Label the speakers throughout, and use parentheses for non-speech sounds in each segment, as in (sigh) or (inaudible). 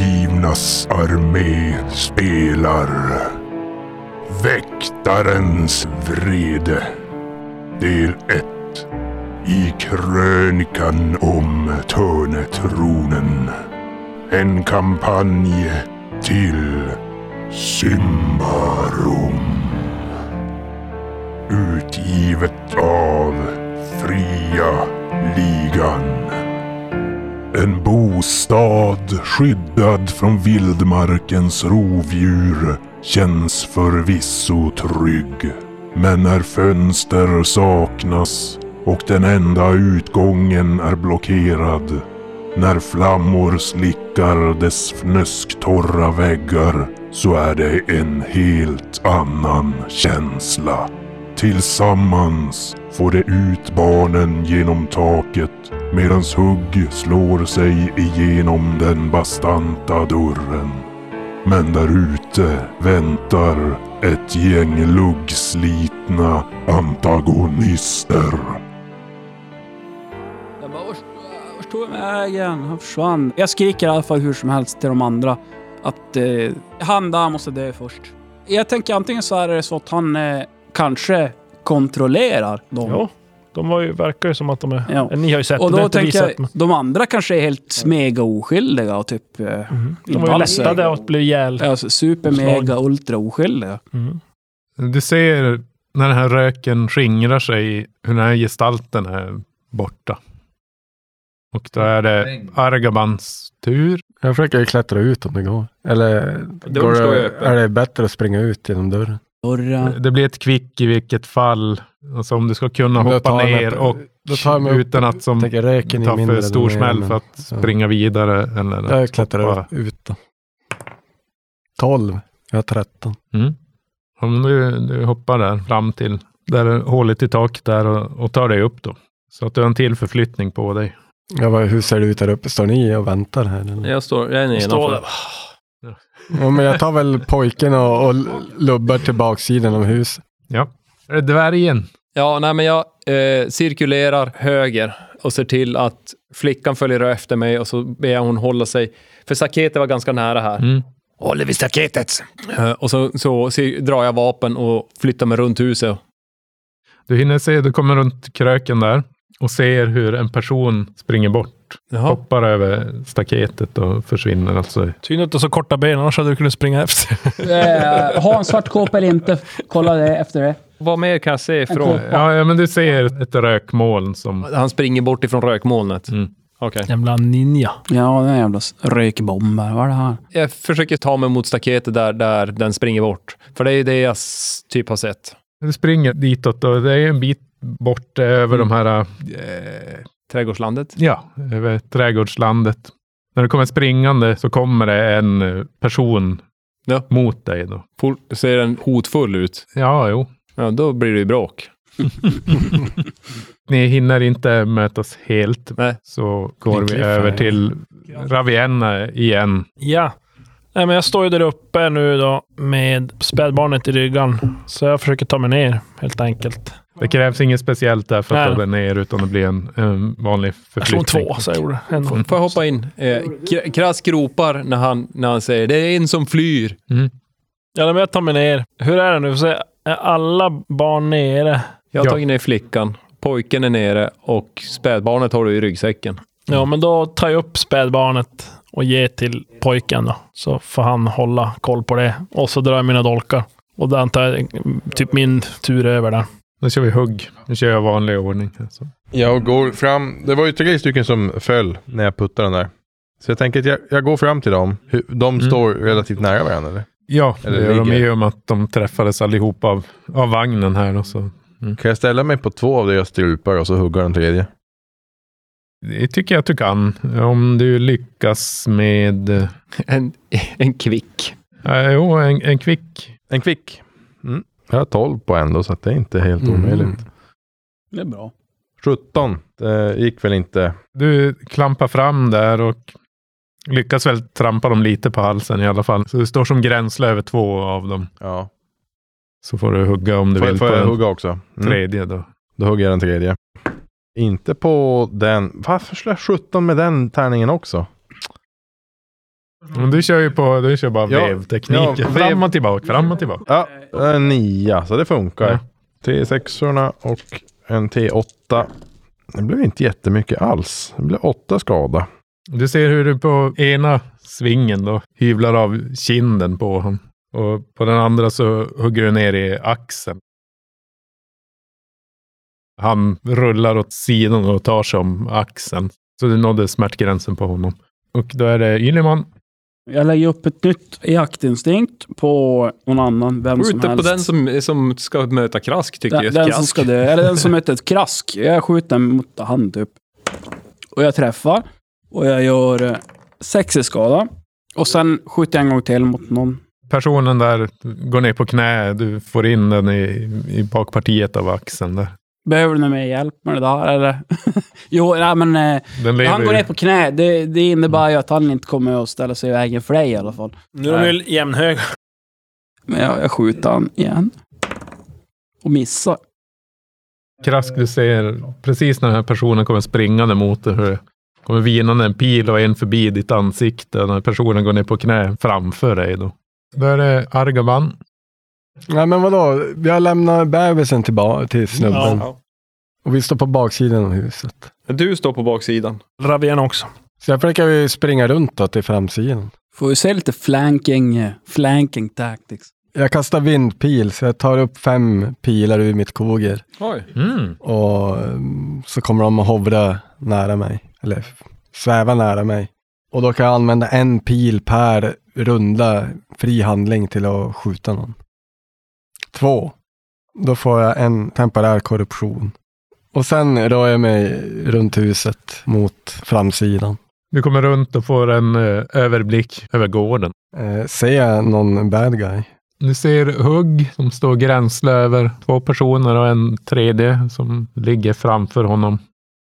Speaker 1: Lejonernas armé spelar Väktarens vrede Del 1 I krönikan om Törnetronen En kampanj till Symbarum Utgivet av Fria Ligan en bostad skyddad från vildmarkens rovdjur känns förvisso trygg. Men när fönster saknas och den enda utgången är blockerad. När flammor slickar dess fnösktorra väggar så är det en helt annan känsla. Tillsammans får de ut barnen genom taket medan hugg slår sig igenom den bastanta dörren. Men där ute väntar ett gäng luggslitna antagonister.
Speaker 2: Jag bara, vart, vart tog han vägen? Han försvann. Jag skriker i alla fall hur som helst till de andra att eh, han där måste dö först. Jag tänker antingen så här är det så att han eh, kanske kontrollerar dem.
Speaker 3: Ja, de var ju, verkar ju som att de är...
Speaker 2: Ja.
Speaker 3: Ni har ju sett
Speaker 2: Och
Speaker 3: det, det är
Speaker 2: då
Speaker 3: inte vi
Speaker 2: tänker jag,
Speaker 3: sett. Men,
Speaker 2: de andra kanske är helt smega oskyldiga och typ... Eh,
Speaker 3: Mm. de var ju
Speaker 2: alls-
Speaker 3: lättade att bli ihjäl.
Speaker 2: Alltså super, mega, ultra oskyldiga.
Speaker 3: Mm.
Speaker 4: Du ser när den här röken skingrar sig hur den här gestalten är borta. Och då är det Argabans tur.
Speaker 5: Jag försöker ju klättra ut om det går. Eller går
Speaker 6: står ju
Speaker 5: det,
Speaker 6: öppen.
Speaker 5: är det bättre att springa ut genom dörren?
Speaker 2: Dörren.
Speaker 4: Det blir ett kvick i vilket fall. Alltså om du ska kunna
Speaker 5: Då tar
Speaker 4: hoppa
Speaker 5: jag mig
Speaker 4: ner
Speaker 5: upp-
Speaker 4: och
Speaker 5: då tar jag mig upp-
Speaker 4: utan att som
Speaker 5: Tänker röken
Speaker 4: Mm.
Speaker 5: är
Speaker 4: ta
Speaker 5: mindre.
Speaker 4: för
Speaker 5: än
Speaker 4: stor
Speaker 5: den är,
Speaker 4: smäll
Speaker 5: men-
Speaker 4: för att
Speaker 5: ja.
Speaker 4: springa vidare. Eller
Speaker 5: Jag
Speaker 4: att hoppa.
Speaker 5: klättrar ut då. 12. Jag har 13.
Speaker 4: Mm. Om du, du hoppar där fram till där det är hålet i taket där och, och tar dig upp då. Så att du har en till förflyttning på dig.
Speaker 5: Jag bara, hur ser det ut där uppe? Står ni och väntar här? Eller?
Speaker 6: Jag står, jag är
Speaker 3: Står där.
Speaker 6: nedanför.
Speaker 5: Ja, men jag tar väl pojken och, och lubbar till baksidan av huset.
Speaker 4: Är det dvärgen?
Speaker 6: Ja, nej men jag eh, cirkulerar höger och ser till att flickan följer efter mig och så ber jag hon hålla sig. För Sakete var ganska nära här.
Speaker 4: Mm.
Speaker 6: Håller vid staketet! Eh, och så, så cir- drar jag vapen och flyttar mig runt huset.
Speaker 4: Du hinner se, du kommer runt kröken där och ser hur en person springer bort.
Speaker 6: Jaha.
Speaker 4: Hoppar över staketet och försvinner. Alltså.
Speaker 3: Synd att du har så korta ben, annars hade du kunnat springa efter. (laughs)
Speaker 2: Eh, ha en svart kåpa eller inte. Kolla det efter det.
Speaker 6: Vad mer kan jag se
Speaker 2: En
Speaker 6: från...
Speaker 4: Ja, ja, men du ser ett rökmoln som...
Speaker 6: Han springer bort ifrån rökmolnet.
Speaker 4: Mm.
Speaker 6: Okej.
Speaker 3: Jävla ninja.
Speaker 2: Ja, den jävla s- rökbomber. Vad är det här?
Speaker 6: Jag försöker ta mig mot staketet där, där den springer bort. För det är ju det jag s- typ har sett.
Speaker 4: Du springer ditåt och det är en bit bort över de här... Eh,
Speaker 6: Trädgårdslandet.
Speaker 4: Ja, över trädgårdslandet. När du kommer springande så kommer det en eh, person
Speaker 6: Ja.
Speaker 4: mot dig. Då.
Speaker 6: Fort- Ser den hotfull ut?
Speaker 4: Ja, jo.
Speaker 6: Ja, då blir det ju bråk.
Speaker 4: Ni hinner inte mötas helt.
Speaker 6: Nej.
Speaker 4: Så går vi
Speaker 5: cliffhanger.
Speaker 4: över till Ravienna igen.
Speaker 3: Ja. Nej, men jag står ju där uppe nu då med spädbarnet i ryggan. Så jag försöker ta mig ner helt enkelt.
Speaker 4: Det krävs inget speciellt där för att
Speaker 3: Nej.
Speaker 4: ta dig ner, utan det blir en, en vanlig
Speaker 3: Jag slog
Speaker 4: förflyttning.
Speaker 3: två, så jag gjorde. En.
Speaker 6: Får jag hoppa in? Eh, Kr- krass gropar när han, när han säger det är en som flyr.
Speaker 4: Mm.
Speaker 3: Ja, nej, men jag tar mig ner. Hur är det nu? Får se, Är alla barn nere?
Speaker 6: Jag har
Speaker 4: Ja.
Speaker 6: tagit ner flickan, pojken är nere och spädbarnet har du i ryggsäcken. (laughs)
Speaker 3: Ja, men då tar jag upp spädbarnet och ger till pojken då. Så får han hålla koll på det. Och så drar jag mina dolkar. Och där tar jag mm, typ min tur över där.
Speaker 4: Nu kör vi hugg. Nu kör jag vanlig ordning. Alltså.
Speaker 7: Jag går fram. Det var ju tre stycken som föll när jag puttade den där. Så jag tänker att jag, jag går fram till dem. Hur- De
Speaker 4: Mm.
Speaker 7: står relativt nära varandra eller?
Speaker 4: Ja,
Speaker 7: Eller
Speaker 4: det gör de
Speaker 7: ligger.
Speaker 4: i och med att de träffades allihop av, av vagnen här. Då, så.
Speaker 7: Kan jag ställa mig på två av deras strupar och så hugga den tredje?
Speaker 4: Det tycker jag att du kan. Om du lyckas med... eh,
Speaker 6: En, en kvick.
Speaker 4: Ja, jo, en, en kvick.
Speaker 7: En kvick. Mm. Jag har 12 på en då, så att det är inte helt
Speaker 5: Mm.
Speaker 7: omöjligt.
Speaker 2: Det är bra.
Speaker 7: 17. Det gick väl inte.
Speaker 4: Du klampar fram där och lyckas väl trampa dem lite på halsen i alla fall. Så du står som gränsle över två av dem.
Speaker 7: Ja.
Speaker 4: Så får du hugga om du
Speaker 7: Får,
Speaker 4: vill
Speaker 7: får
Speaker 4: på
Speaker 7: jag
Speaker 4: den
Speaker 7: hugga också? Mm.
Speaker 4: tredje då.
Speaker 7: Då hugger jag den tredje. Inte på den. Varför slår jag 17 med den tärningen också?
Speaker 4: Men du kör ju på, du kör bara
Speaker 7: Ja.
Speaker 4: vevtekniken.
Speaker 7: Ja, vev-
Speaker 4: Fram och tillbaka, fram och tillbaka.
Speaker 7: Ja, eh, nia, så det funkar.
Speaker 4: Ja.
Speaker 7: T6orna och en T8. Det blev inte jättemycket alls. Det blev åtta skada.
Speaker 4: Du ser hur du på ena svingen då hyvlar av kinden på honom. Och på den andra så hugger du ner i axeln. Han rullar åt sidan och tar sig om axeln. Så du nådde smärtgränsen på honom. Och då är det Yliman.
Speaker 2: Jag lägger upp ett nytt jaktinstinkt på någon annan, vem som
Speaker 6: Skjuta
Speaker 2: helst.
Speaker 6: på den som, som ska möta krask, tycker
Speaker 2: den,
Speaker 6: jag.
Speaker 2: den som
Speaker 6: Krask.
Speaker 2: ska dö. Eller den som möter ett krask. Jag skjuter mot han typ. Och jag träffar. Och jag gör eh, sex i skada. Och sen skjuter jag en gång till mot någon.
Speaker 4: Personen där går ner på knä. Du får in den i, i bakpartiet av axeln där.
Speaker 2: Behöver du mer hjälp med det där eller? (laughs) jo, nej men. Eh,
Speaker 4: Den lever
Speaker 2: han går
Speaker 4: ju.
Speaker 2: ner på knä. Det, det innebär ju att han inte kommer att ställa sig i vägen för dig i alla fall.
Speaker 3: Nu är de ju jämnhöga.
Speaker 2: Men jag, jag skjuter han igen. Och missar.
Speaker 4: Krask, du ser precis när den här personen kommer springande mot dig hur det kommer vinande en pil och en förbi ditt ansikte när personen går ner på knä framför dig. Då, då är det Argaban.
Speaker 5: Nej men vadå, jag lämnar bebisen till, ba- till snubben.
Speaker 3: Ja.
Speaker 5: Och vi står på baksidan av huset.
Speaker 6: Du står på baksidan.
Speaker 3: Ravien också.
Speaker 5: Så jag försöker ju springa runt då till framsidan.
Speaker 2: Får vi se lite flanking, eh, flanking tactics.
Speaker 5: Jag kastar vindpil, så jag tar upp fem pilar ur mitt koger.
Speaker 6: Oj.
Speaker 4: Mm.
Speaker 5: Och mm, så kommer de att hovra nära mig, eller f- sväva nära mig. Och då kan jag använda en pil per runda fri handling till att skjuta någon. Två. Då får jag en temporär korruption. Och sen rör jag mig runt huset mot framsidan.
Speaker 4: Du kommer runt och får en eh, överblick över gården.
Speaker 5: Eh, ser jag någon bad guy?
Speaker 4: Du ser hugg som står gränsle över två personer och en tredje som ligger framför honom.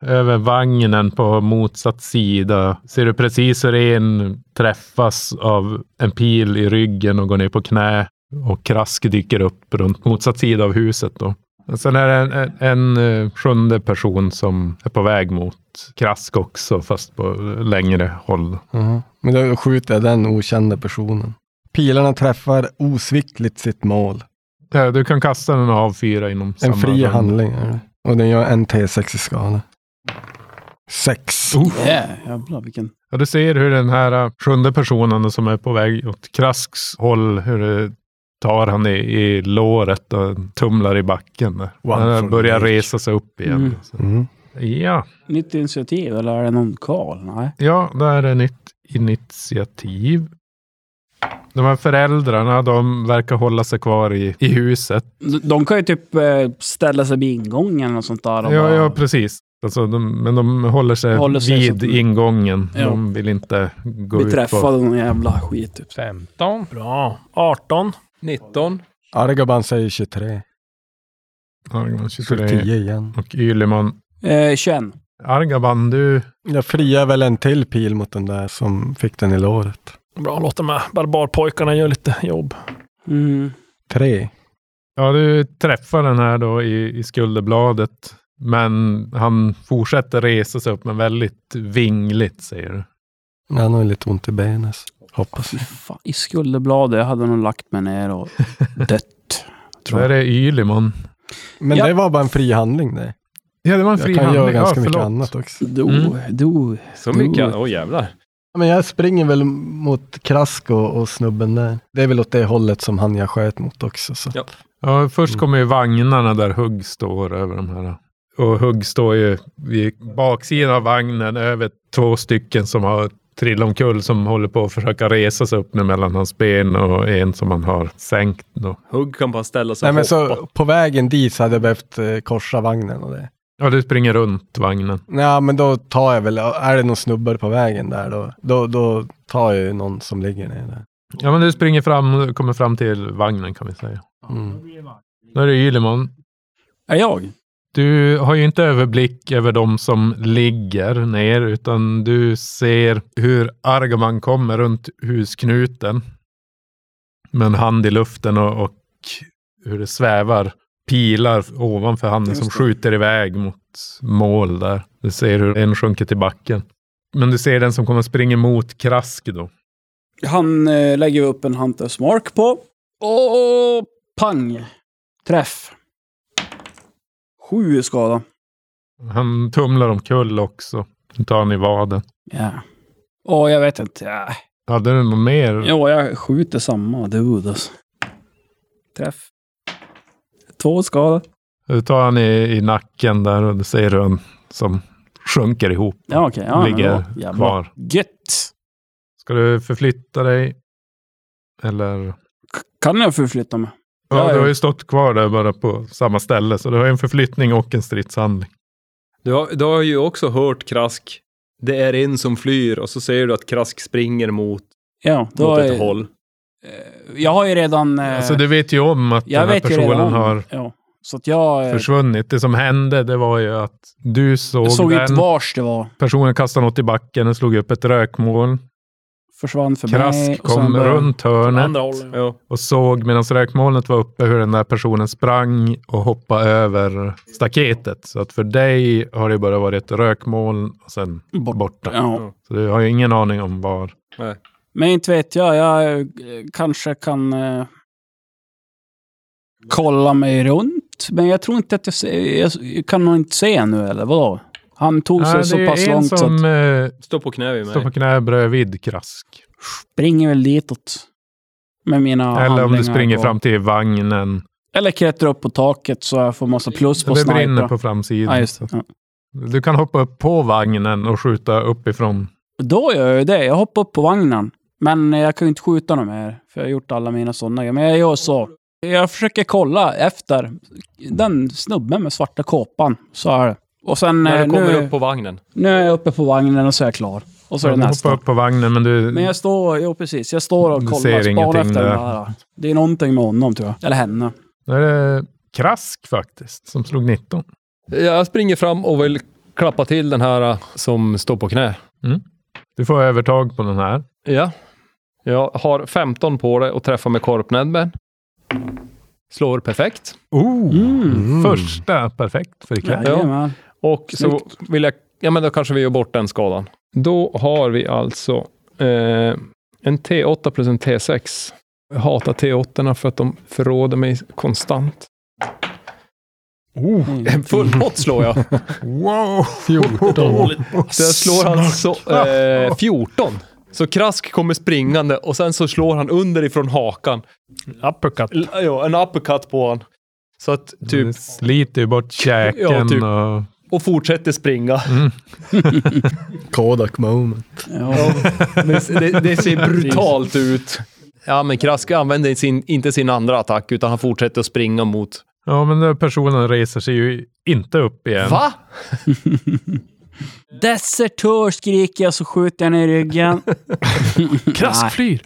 Speaker 4: Över vagnen på motsatt sida ser du precis hur en träffas av en pil i ryggen och går ner på knä. Och krask dyker upp runt motsatt sida av huset. Då. Och Sen är det en, en, en eh, sjunde person som är på väg mot krask också, fast på längre håll.
Speaker 5: Mhm. Men då skjuter jag den okända personen. Pilarna träffar osvikligt sitt mål.
Speaker 4: Eh, Du kan kasta den av fyra inom
Speaker 5: En
Speaker 4: samma
Speaker 5: fri
Speaker 4: runda.
Speaker 5: handling är det. Och den gör en T6 i skala. Sex.
Speaker 4: Oh.
Speaker 2: Yeah, jävlar vilken...
Speaker 4: Ja, du ser hur den här ä, sjunde personen som är på väg åt Krasks håll, hur det tar han i, i låret och tumlar i backen. Där.
Speaker 5: One for
Speaker 4: Han börjar
Speaker 5: the
Speaker 4: resa sig upp igen.
Speaker 2: Mm.
Speaker 4: Så.
Speaker 5: Mm.
Speaker 4: Ja,
Speaker 2: Nytt initiativ eller är det någon call? Nej.
Speaker 4: ja, där är nytt initiativ. De här föräldrarna, de verkar hålla sig kvar i, i huset.
Speaker 2: De- De kan ju typ eh, ställa sig vid ingången och sånt där. Och
Speaker 4: Ja,
Speaker 2: bara-
Speaker 4: ja precis. Alltså, de, men de håller sig,
Speaker 2: Håller sig
Speaker 4: vid
Speaker 2: så att-
Speaker 4: ingången.
Speaker 2: Ja.
Speaker 4: De vill inte gå
Speaker 2: bli
Speaker 4: ut på...
Speaker 2: träffade av någon jävla skit. Typ.
Speaker 6: 15.
Speaker 3: Bra. 18.
Speaker 6: 19.
Speaker 5: Argaban säger 23.
Speaker 4: Ja,
Speaker 5: Så
Speaker 4: 23.
Speaker 5: 10 igen.
Speaker 4: Och Yleman
Speaker 2: Eh, 21.
Speaker 4: Argaban, du,
Speaker 5: Jag friar väl en till pil mot den där som fick den i låret.
Speaker 3: Bra, låt de här barbarpojkarna göra lite jobb.
Speaker 2: Mm.
Speaker 5: Tre.
Speaker 4: ja, du träffar den här då i, i skulderbladet. Men han fortsätter resa sig upp, men väldigt vingligt säger du.
Speaker 5: Men Han har ju lite ont i benet. Hoppas
Speaker 2: Fy
Speaker 5: jag.
Speaker 2: fan. I skulderbladet jag hade nog lagt mig ner och dött.
Speaker 4: Där är det Ylimon.
Speaker 5: Men
Speaker 2: Ja.
Speaker 5: det var bara en fri handling det.
Speaker 4: Ja, det var en
Speaker 5: Jag
Speaker 4: fri
Speaker 5: kan
Speaker 4: handling.
Speaker 5: göra ganska
Speaker 4: ja,
Speaker 5: mycket
Speaker 4: förlåt.
Speaker 5: annat också.
Speaker 2: Do,
Speaker 4: Mm.
Speaker 2: do.
Speaker 6: Så mycket? Åh jävlar.
Speaker 5: Men jag springer väl mot Krask och, och snubben där. Det är väl åt det hållet som han jag sköt mot också. Så.
Speaker 6: Ja.
Speaker 4: Ja, först
Speaker 5: Mm.
Speaker 4: kommer ju vagnarna där Hugg står över de här. Och Hugg står ju vid baksidan av vagnen över två stycken som har trillat omkull som håller på att försöka resa sig upp nu mellan hans ben och en som han har sänkt. Då.
Speaker 6: Hugg kan bara ställa sig
Speaker 5: Nej,
Speaker 6: och
Speaker 5: men
Speaker 6: hoppa.
Speaker 5: så på vägen dit så hade jag behövt eh, korsa vagnen och det.
Speaker 4: Ja, du springer runt vagnen.
Speaker 5: Nej, men då tar jag väl, är det någon snubbar på vägen där då, då, då tar jag ju någon som ligger ner där.
Speaker 4: Ja, men du springer fram, kommer fram till vagnen kan vi säga.
Speaker 5: Mm.
Speaker 4: Nu är det Ylimon.
Speaker 2: Är jag?
Speaker 4: Du har ju inte överblick över de som ligger ner, utan du ser hur Argaman kommer runt husknuten med en hand i luften och, och hur det svävar pilar ovanför handen som
Speaker 2: Just det.
Speaker 4: skjuter iväg mot mål där. Du ser hur en sjunker till backen. Men du ser den som kommer springa mot Krask då.
Speaker 2: Han eh, lägger upp en Hunters Mark på. Och pang! Träff. Sju i skada.
Speaker 4: Han tumlar omkull också. Nu tar han i vaden.
Speaker 2: Ja. Åh, jag vet inte. Ja.
Speaker 4: Hade du något mer?
Speaker 2: Jo, jag skjuter samma dude alltså. Träff. Två i skada.
Speaker 4: Du tar han i, i nacken där och det ser du en som sjunker ihop.
Speaker 2: Ja, okej. Ja, men
Speaker 4: Ligger
Speaker 2: då, jävlar.
Speaker 4: Kvar.
Speaker 2: Gött!
Speaker 4: Ska du förflytta dig? Eller?
Speaker 2: K- Kan jag förflytta mig? Ja,
Speaker 4: Ja,
Speaker 2: ja.
Speaker 4: du har ju stått kvar där bara på samma ställe. Så du har ju en förflyttning och en stridshandling.
Speaker 6: Du har, du har ju också hört Krask. Det är en som flyr och så ser du att Krask springer mot,
Speaker 2: Ja, då
Speaker 6: mot ett
Speaker 2: är,
Speaker 6: håll.
Speaker 2: eh, jag har ju redan... eh,
Speaker 4: Alltså du vet ju om att
Speaker 2: jag
Speaker 4: den här
Speaker 2: vet ju redan. Eh.
Speaker 4: personen har
Speaker 2: Ja, så att jag eh,
Speaker 4: försvunnit. Det som hände det var ju att du såg,
Speaker 2: såg ju inte
Speaker 4: den.
Speaker 2: vars det var.
Speaker 4: Personen kastade något i backen, den slog upp ett rökmoln.
Speaker 2: Försvann för mig.
Speaker 4: Krask
Speaker 2: och sen
Speaker 4: kom
Speaker 2: började-
Speaker 4: runt hörnet
Speaker 3: Andra hållet.
Speaker 6: Ja.
Speaker 4: och såg medan rökmolnet var uppe hur den där personen sprang och hoppade över staketet. Så att för dig har det bara varit ett rökmoln och sen
Speaker 2: Bort.
Speaker 4: borta.
Speaker 2: Ja.
Speaker 4: Så du har ju ingen aning om var.
Speaker 2: Men inte vet jag. Jag eh, kanske kan eh, kolla mig runt. Men jag tror inte att jag ser... Jag, jag kan nog inte se nu, eller vadå? Han tog sig
Speaker 4: Nej, det är
Speaker 2: så
Speaker 4: ju
Speaker 2: pass
Speaker 4: en
Speaker 2: långt så
Speaker 4: som
Speaker 2: att...
Speaker 4: eh,
Speaker 6: Stå på knä vid mig.
Speaker 4: står på knä bredvid Krask.
Speaker 2: Springer väl ditåt. Med mina
Speaker 4: Eller om du
Speaker 2: handlingar
Speaker 4: springer
Speaker 2: och-
Speaker 4: fram till vagnen.
Speaker 2: Eller klättrar upp på taket så jag får massa plus på
Speaker 4: det brinner
Speaker 2: snipern.
Speaker 4: på framsidan.
Speaker 2: Ja, just det. Ja.
Speaker 4: Du kan hoppa upp på vagnen och skjuta uppifrån.
Speaker 2: Då gör jag ju det. Jag hoppar upp på vagnen. Men jag kan ju inte skjuta någon mer, för jag har gjort alla mina sådana. Men jag gör så. Jag försöker kolla efter den snubben med svarta kåpan. Så är det. Och sen,
Speaker 6: När
Speaker 2: eh,
Speaker 6: du kommer
Speaker 2: nu,
Speaker 6: upp på vagnen.
Speaker 2: nu är jag uppe på vagnen och så är jag klar. Och så är
Speaker 4: Du
Speaker 2: det
Speaker 4: hoppar
Speaker 2: nästa.
Speaker 4: upp på vagnen men du...
Speaker 2: Men jag står, jo precis, jag står och
Speaker 4: Du
Speaker 2: kollar,
Speaker 4: ser
Speaker 2: spanar
Speaker 4: ingenting
Speaker 2: efter den
Speaker 4: där.
Speaker 2: här. Det är någonting med honom tror jag. Eller henne.
Speaker 4: Då är det Krask faktiskt som slog 19.
Speaker 6: Jag springer fram och vill klappa till den här äh, som står på knä.
Speaker 4: Du får övertag på den här.
Speaker 6: Ja. Jag har 15 på det och träffar med korpnäbben. Slår perfekt.
Speaker 4: Oh,
Speaker 2: Mm.
Speaker 4: Första perfekt för ikväll.
Speaker 2: Jajamän.
Speaker 6: Och så vill jag... Ja, men då kanske vi gör bort den skadan. Då har vi alltså eh, en T8 plus en T6. Jag hatar T8 för att de förråder mig konstant. En Mm. full pott slår jag.
Speaker 4: Wow!
Speaker 3: 14.
Speaker 6: Så jag slår alltså eh, 14. Så Krask kommer springande och sen så slår han underifrån hakan.
Speaker 3: Uppercut.
Speaker 6: L- Ja, en uppercut på han. Så att
Speaker 4: Det
Speaker 6: typ,
Speaker 4: sliter ju bort käken
Speaker 6: Ja, typ.
Speaker 4: och...
Speaker 6: och fortsätter springa.
Speaker 5: Kodak moment.
Speaker 2: Ja.
Speaker 4: Mm.
Speaker 6: Det, det, det ser brutalt ut. Ja, men Krask använder sin, inte sin andra attack, utan han fortsätter att springa mot...
Speaker 4: Ja, men den här personen reser sig ju inte upp igen.
Speaker 6: Va?
Speaker 2: Desertör skriker jag så skjuter jag ner i ryggen. Nej.
Speaker 3: Krask flyr!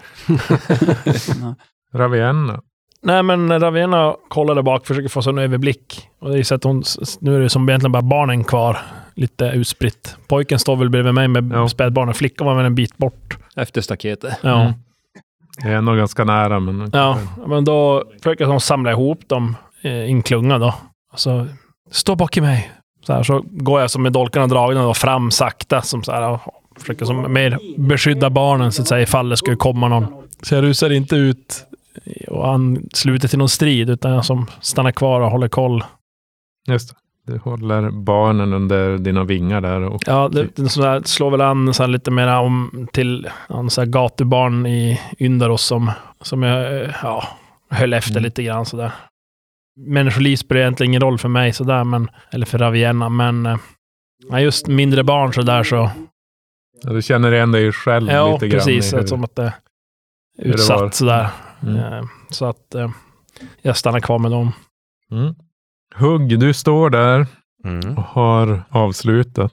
Speaker 4: Ravienna.
Speaker 3: Nej, men Ravena kollar där bak, försöker få sig en överblick. Och det är så att hon, nu är det som egentligen bara barnen kvar, lite utspritt. Pojken står väl bredvid mig med
Speaker 4: Ja.
Speaker 3: spädbarnen. Flickan var väl en bit bort.
Speaker 6: Efter staketet.
Speaker 3: Ja.
Speaker 4: Mm. Det är nog ganska nära, men...
Speaker 3: Ja, men då försöker hon samla ihop dem eh, i en klunga då. Och så, stå bak i mig. Så, här, så går jag som med dolkarna dragna då fram sakta. Som så här, och försöker som mer beskydda barnen så att säga, ifall det skulle komma någon. Så jag rusar inte ut och ansluter till någon strid, utan jag som stannar kvar och håller koll.
Speaker 4: Just det. Du håller barnen under dina vingar där och
Speaker 3: Ja, det, den sån där slår väl an så här lite mer om till någon så här gatubarn i Yndaros som, som jag eh, ja, höll efter
Speaker 4: Mm.
Speaker 3: lite grann sådär. Människoliv spelar egentligen ingen roll för mig sådär, men, eller för Ravienna, men eh, ja, just mindre barn sådär så.
Speaker 4: Ja, du känner igen dig själv
Speaker 3: Ja,
Speaker 4: Mm, lite grann.
Speaker 3: precis. alltså,
Speaker 4: i hur-
Speaker 3: Som att det är
Speaker 4: hur det var.
Speaker 3: utsatt sådär.
Speaker 4: Mm.
Speaker 3: Eh, Så att eh, jag stannar kvar med dem.
Speaker 4: Mm. Hugg, du står där
Speaker 7: Mm.
Speaker 4: och har avslutat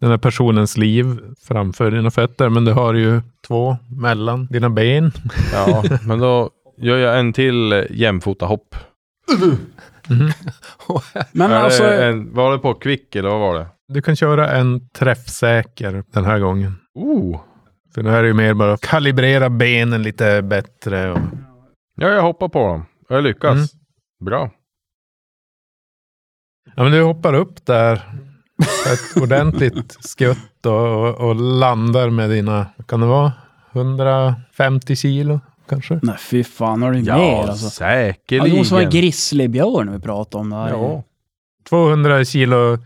Speaker 4: den här personens liv framför dina fötter, men du har ju två mellan dina ben.
Speaker 7: Ja, men då gör jag en till eh, jämfotahopp.
Speaker 2: Men
Speaker 7: Är det
Speaker 2: alltså,
Speaker 7: en, var det på kvick eller vad var det?
Speaker 4: Du kan köra en träffsäker den här gången.
Speaker 7: Oh.
Speaker 4: För det här är ju mer bara att kalibrera benen lite bättre. Och...
Speaker 7: Ja, jag hoppar på dem. Och Jag lyckas.
Speaker 4: Mm.
Speaker 7: Bra.
Speaker 4: Ja, men du hoppar upp där.
Speaker 2: (laughs)
Speaker 4: Ett ordentligt skutt och, och, och landar med dina, vad kan det vara? 150 kilo kanske.
Speaker 2: Nej, fy fan. Har du mer
Speaker 7: Ja,
Speaker 2: alltså? Ja,
Speaker 7: säkerligen.
Speaker 2: det måste vara en grizzlybjörn vi pratar om. Det här.
Speaker 7: Ja.
Speaker 4: 200 kilo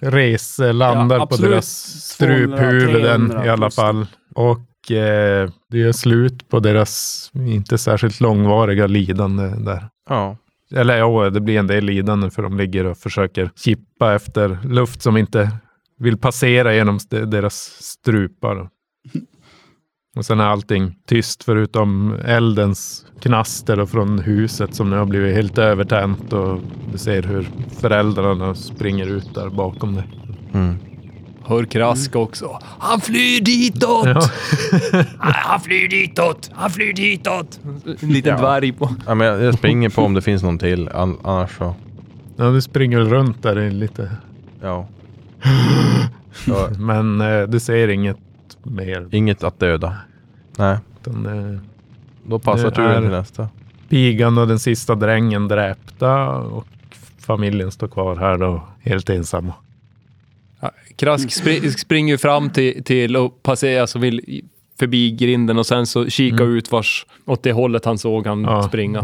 Speaker 4: res eh, landar
Speaker 2: Ja,
Speaker 4: på
Speaker 2: absolut.
Speaker 4: deras
Speaker 2: 200,
Speaker 4: struphuvuden
Speaker 2: 300,
Speaker 4: i alla
Speaker 2: plus.
Speaker 4: fall. Och eh, det är slut på deras inte särskilt långvariga lidande där.
Speaker 7: Ja.
Speaker 4: Eller ja, det blir en del lidande för de ligger och försöker kippa efter luft som inte vill passera genom st- deras strupar. Och sen är allting tyst förutom eldens knaster och från huset som nu har blivit helt övertänt och du ser hur föräldrarna springer ut där bakom dig.
Speaker 7: Mm.
Speaker 6: Hör krask också. Han flyr ditåt!
Speaker 4: Ja.
Speaker 6: Nej, Han flyr ditåt! Han flyr ditåt! En liten
Speaker 7: Ja.
Speaker 6: dvärg på.
Speaker 7: Ja, men jag, jag springer på om det finns någon till. An, annars så.
Speaker 4: (laughs) ja, du springer väl runt där i lite,
Speaker 7: Ja. ja.
Speaker 4: men eh, du ser inget mer.
Speaker 7: Inget att döda. Nej,
Speaker 4: Utan, eh,
Speaker 7: då passar
Speaker 4: Det
Speaker 7: turen
Speaker 4: är-
Speaker 7: till nästa.
Speaker 4: pigan och den sista drängen dräpta och familjen står kvar här då, helt ensamma.
Speaker 6: Krask spri- springer ju fram till, till och passerar så vill i- förbi grinden och sen så kika ut vars, åt det hållet han såg han
Speaker 4: Mm. Ja.
Speaker 6: Mm, springa.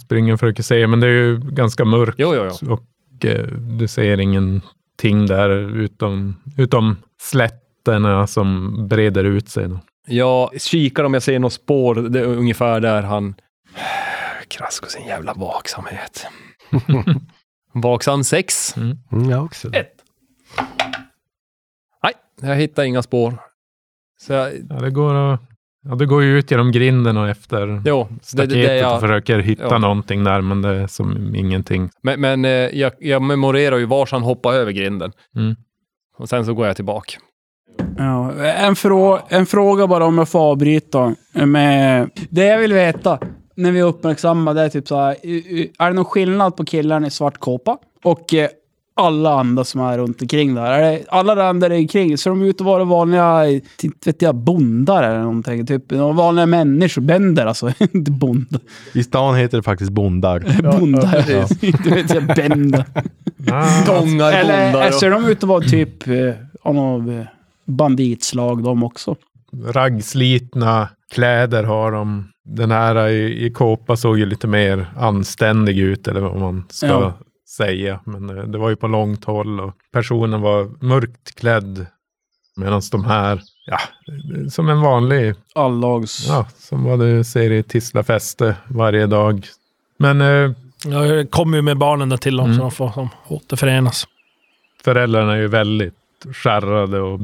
Speaker 4: Springer försöker se, men det är ju ganska mörkt
Speaker 6: Jo, jo, jo.
Speaker 4: och eh, du ser ingenting där utom, utom slätterna som breder ut
Speaker 6: (laughs)
Speaker 4: sig. Då.
Speaker 6: Jag kikar om jag ser något spår det är ungefär där han... Krask och sin jävla vaksamhet. Vaksam sex.
Speaker 5: Mm, jag också.
Speaker 6: Nej, jag hittar inga spår. Så jag,
Speaker 4: Ja, det går att, ja, det går ju ut genom grinden och efter
Speaker 6: jo, det, det,
Speaker 4: staketet
Speaker 6: det
Speaker 4: och
Speaker 6: jag,
Speaker 4: försöker hitta
Speaker 6: ja.
Speaker 4: någonting där, men det är som ingenting.
Speaker 6: men men eh, jag, jag memorerar ju vars han hoppar över grinden.
Speaker 4: Mm.
Speaker 6: Och sen så går jag tillbaka.
Speaker 2: Ja, en, frå en fråga bara om jag får avbryta. Med, det jag vill veta när vi uppmärksammar det är typ så här, i- i- är det någon skillnad på killarna i svart kåpa och eh, alla andra som är runt omkring där? Är det, alla där där omkring, ser de ut att vara vanliga, inte vet jag, bondar eller någonting? Typ några vanliga människor, bänder alltså, (laughs) inte bond,
Speaker 7: I stan heter det faktiskt bondar.
Speaker 2: bondar. (laughs) inte vet jag, bänder.
Speaker 4: Ah.
Speaker 6: Stångar,
Speaker 2: Eller
Speaker 6: bondar
Speaker 2: eh,
Speaker 6: och...
Speaker 2: ser de ut att vara typ eh, av något banditslag de också?
Speaker 4: raggslitna kläder har de. Den här i, i kåpa såg ju lite mer anständig ut eller vad man ska
Speaker 2: Ja.
Speaker 4: säga. Men eh, det var ju på långt håll och personen var mörkt klädd. Medan de här, ja, som en vanlig,
Speaker 2: Allags...
Speaker 4: ja, som vad du ser i Tislafäste varje dag. Men eh,
Speaker 3: Jag kommer ju med barnen där till dem
Speaker 4: Mm.
Speaker 3: så de får de återförenas.
Speaker 4: föräldrarna är ju väldigt skärrade och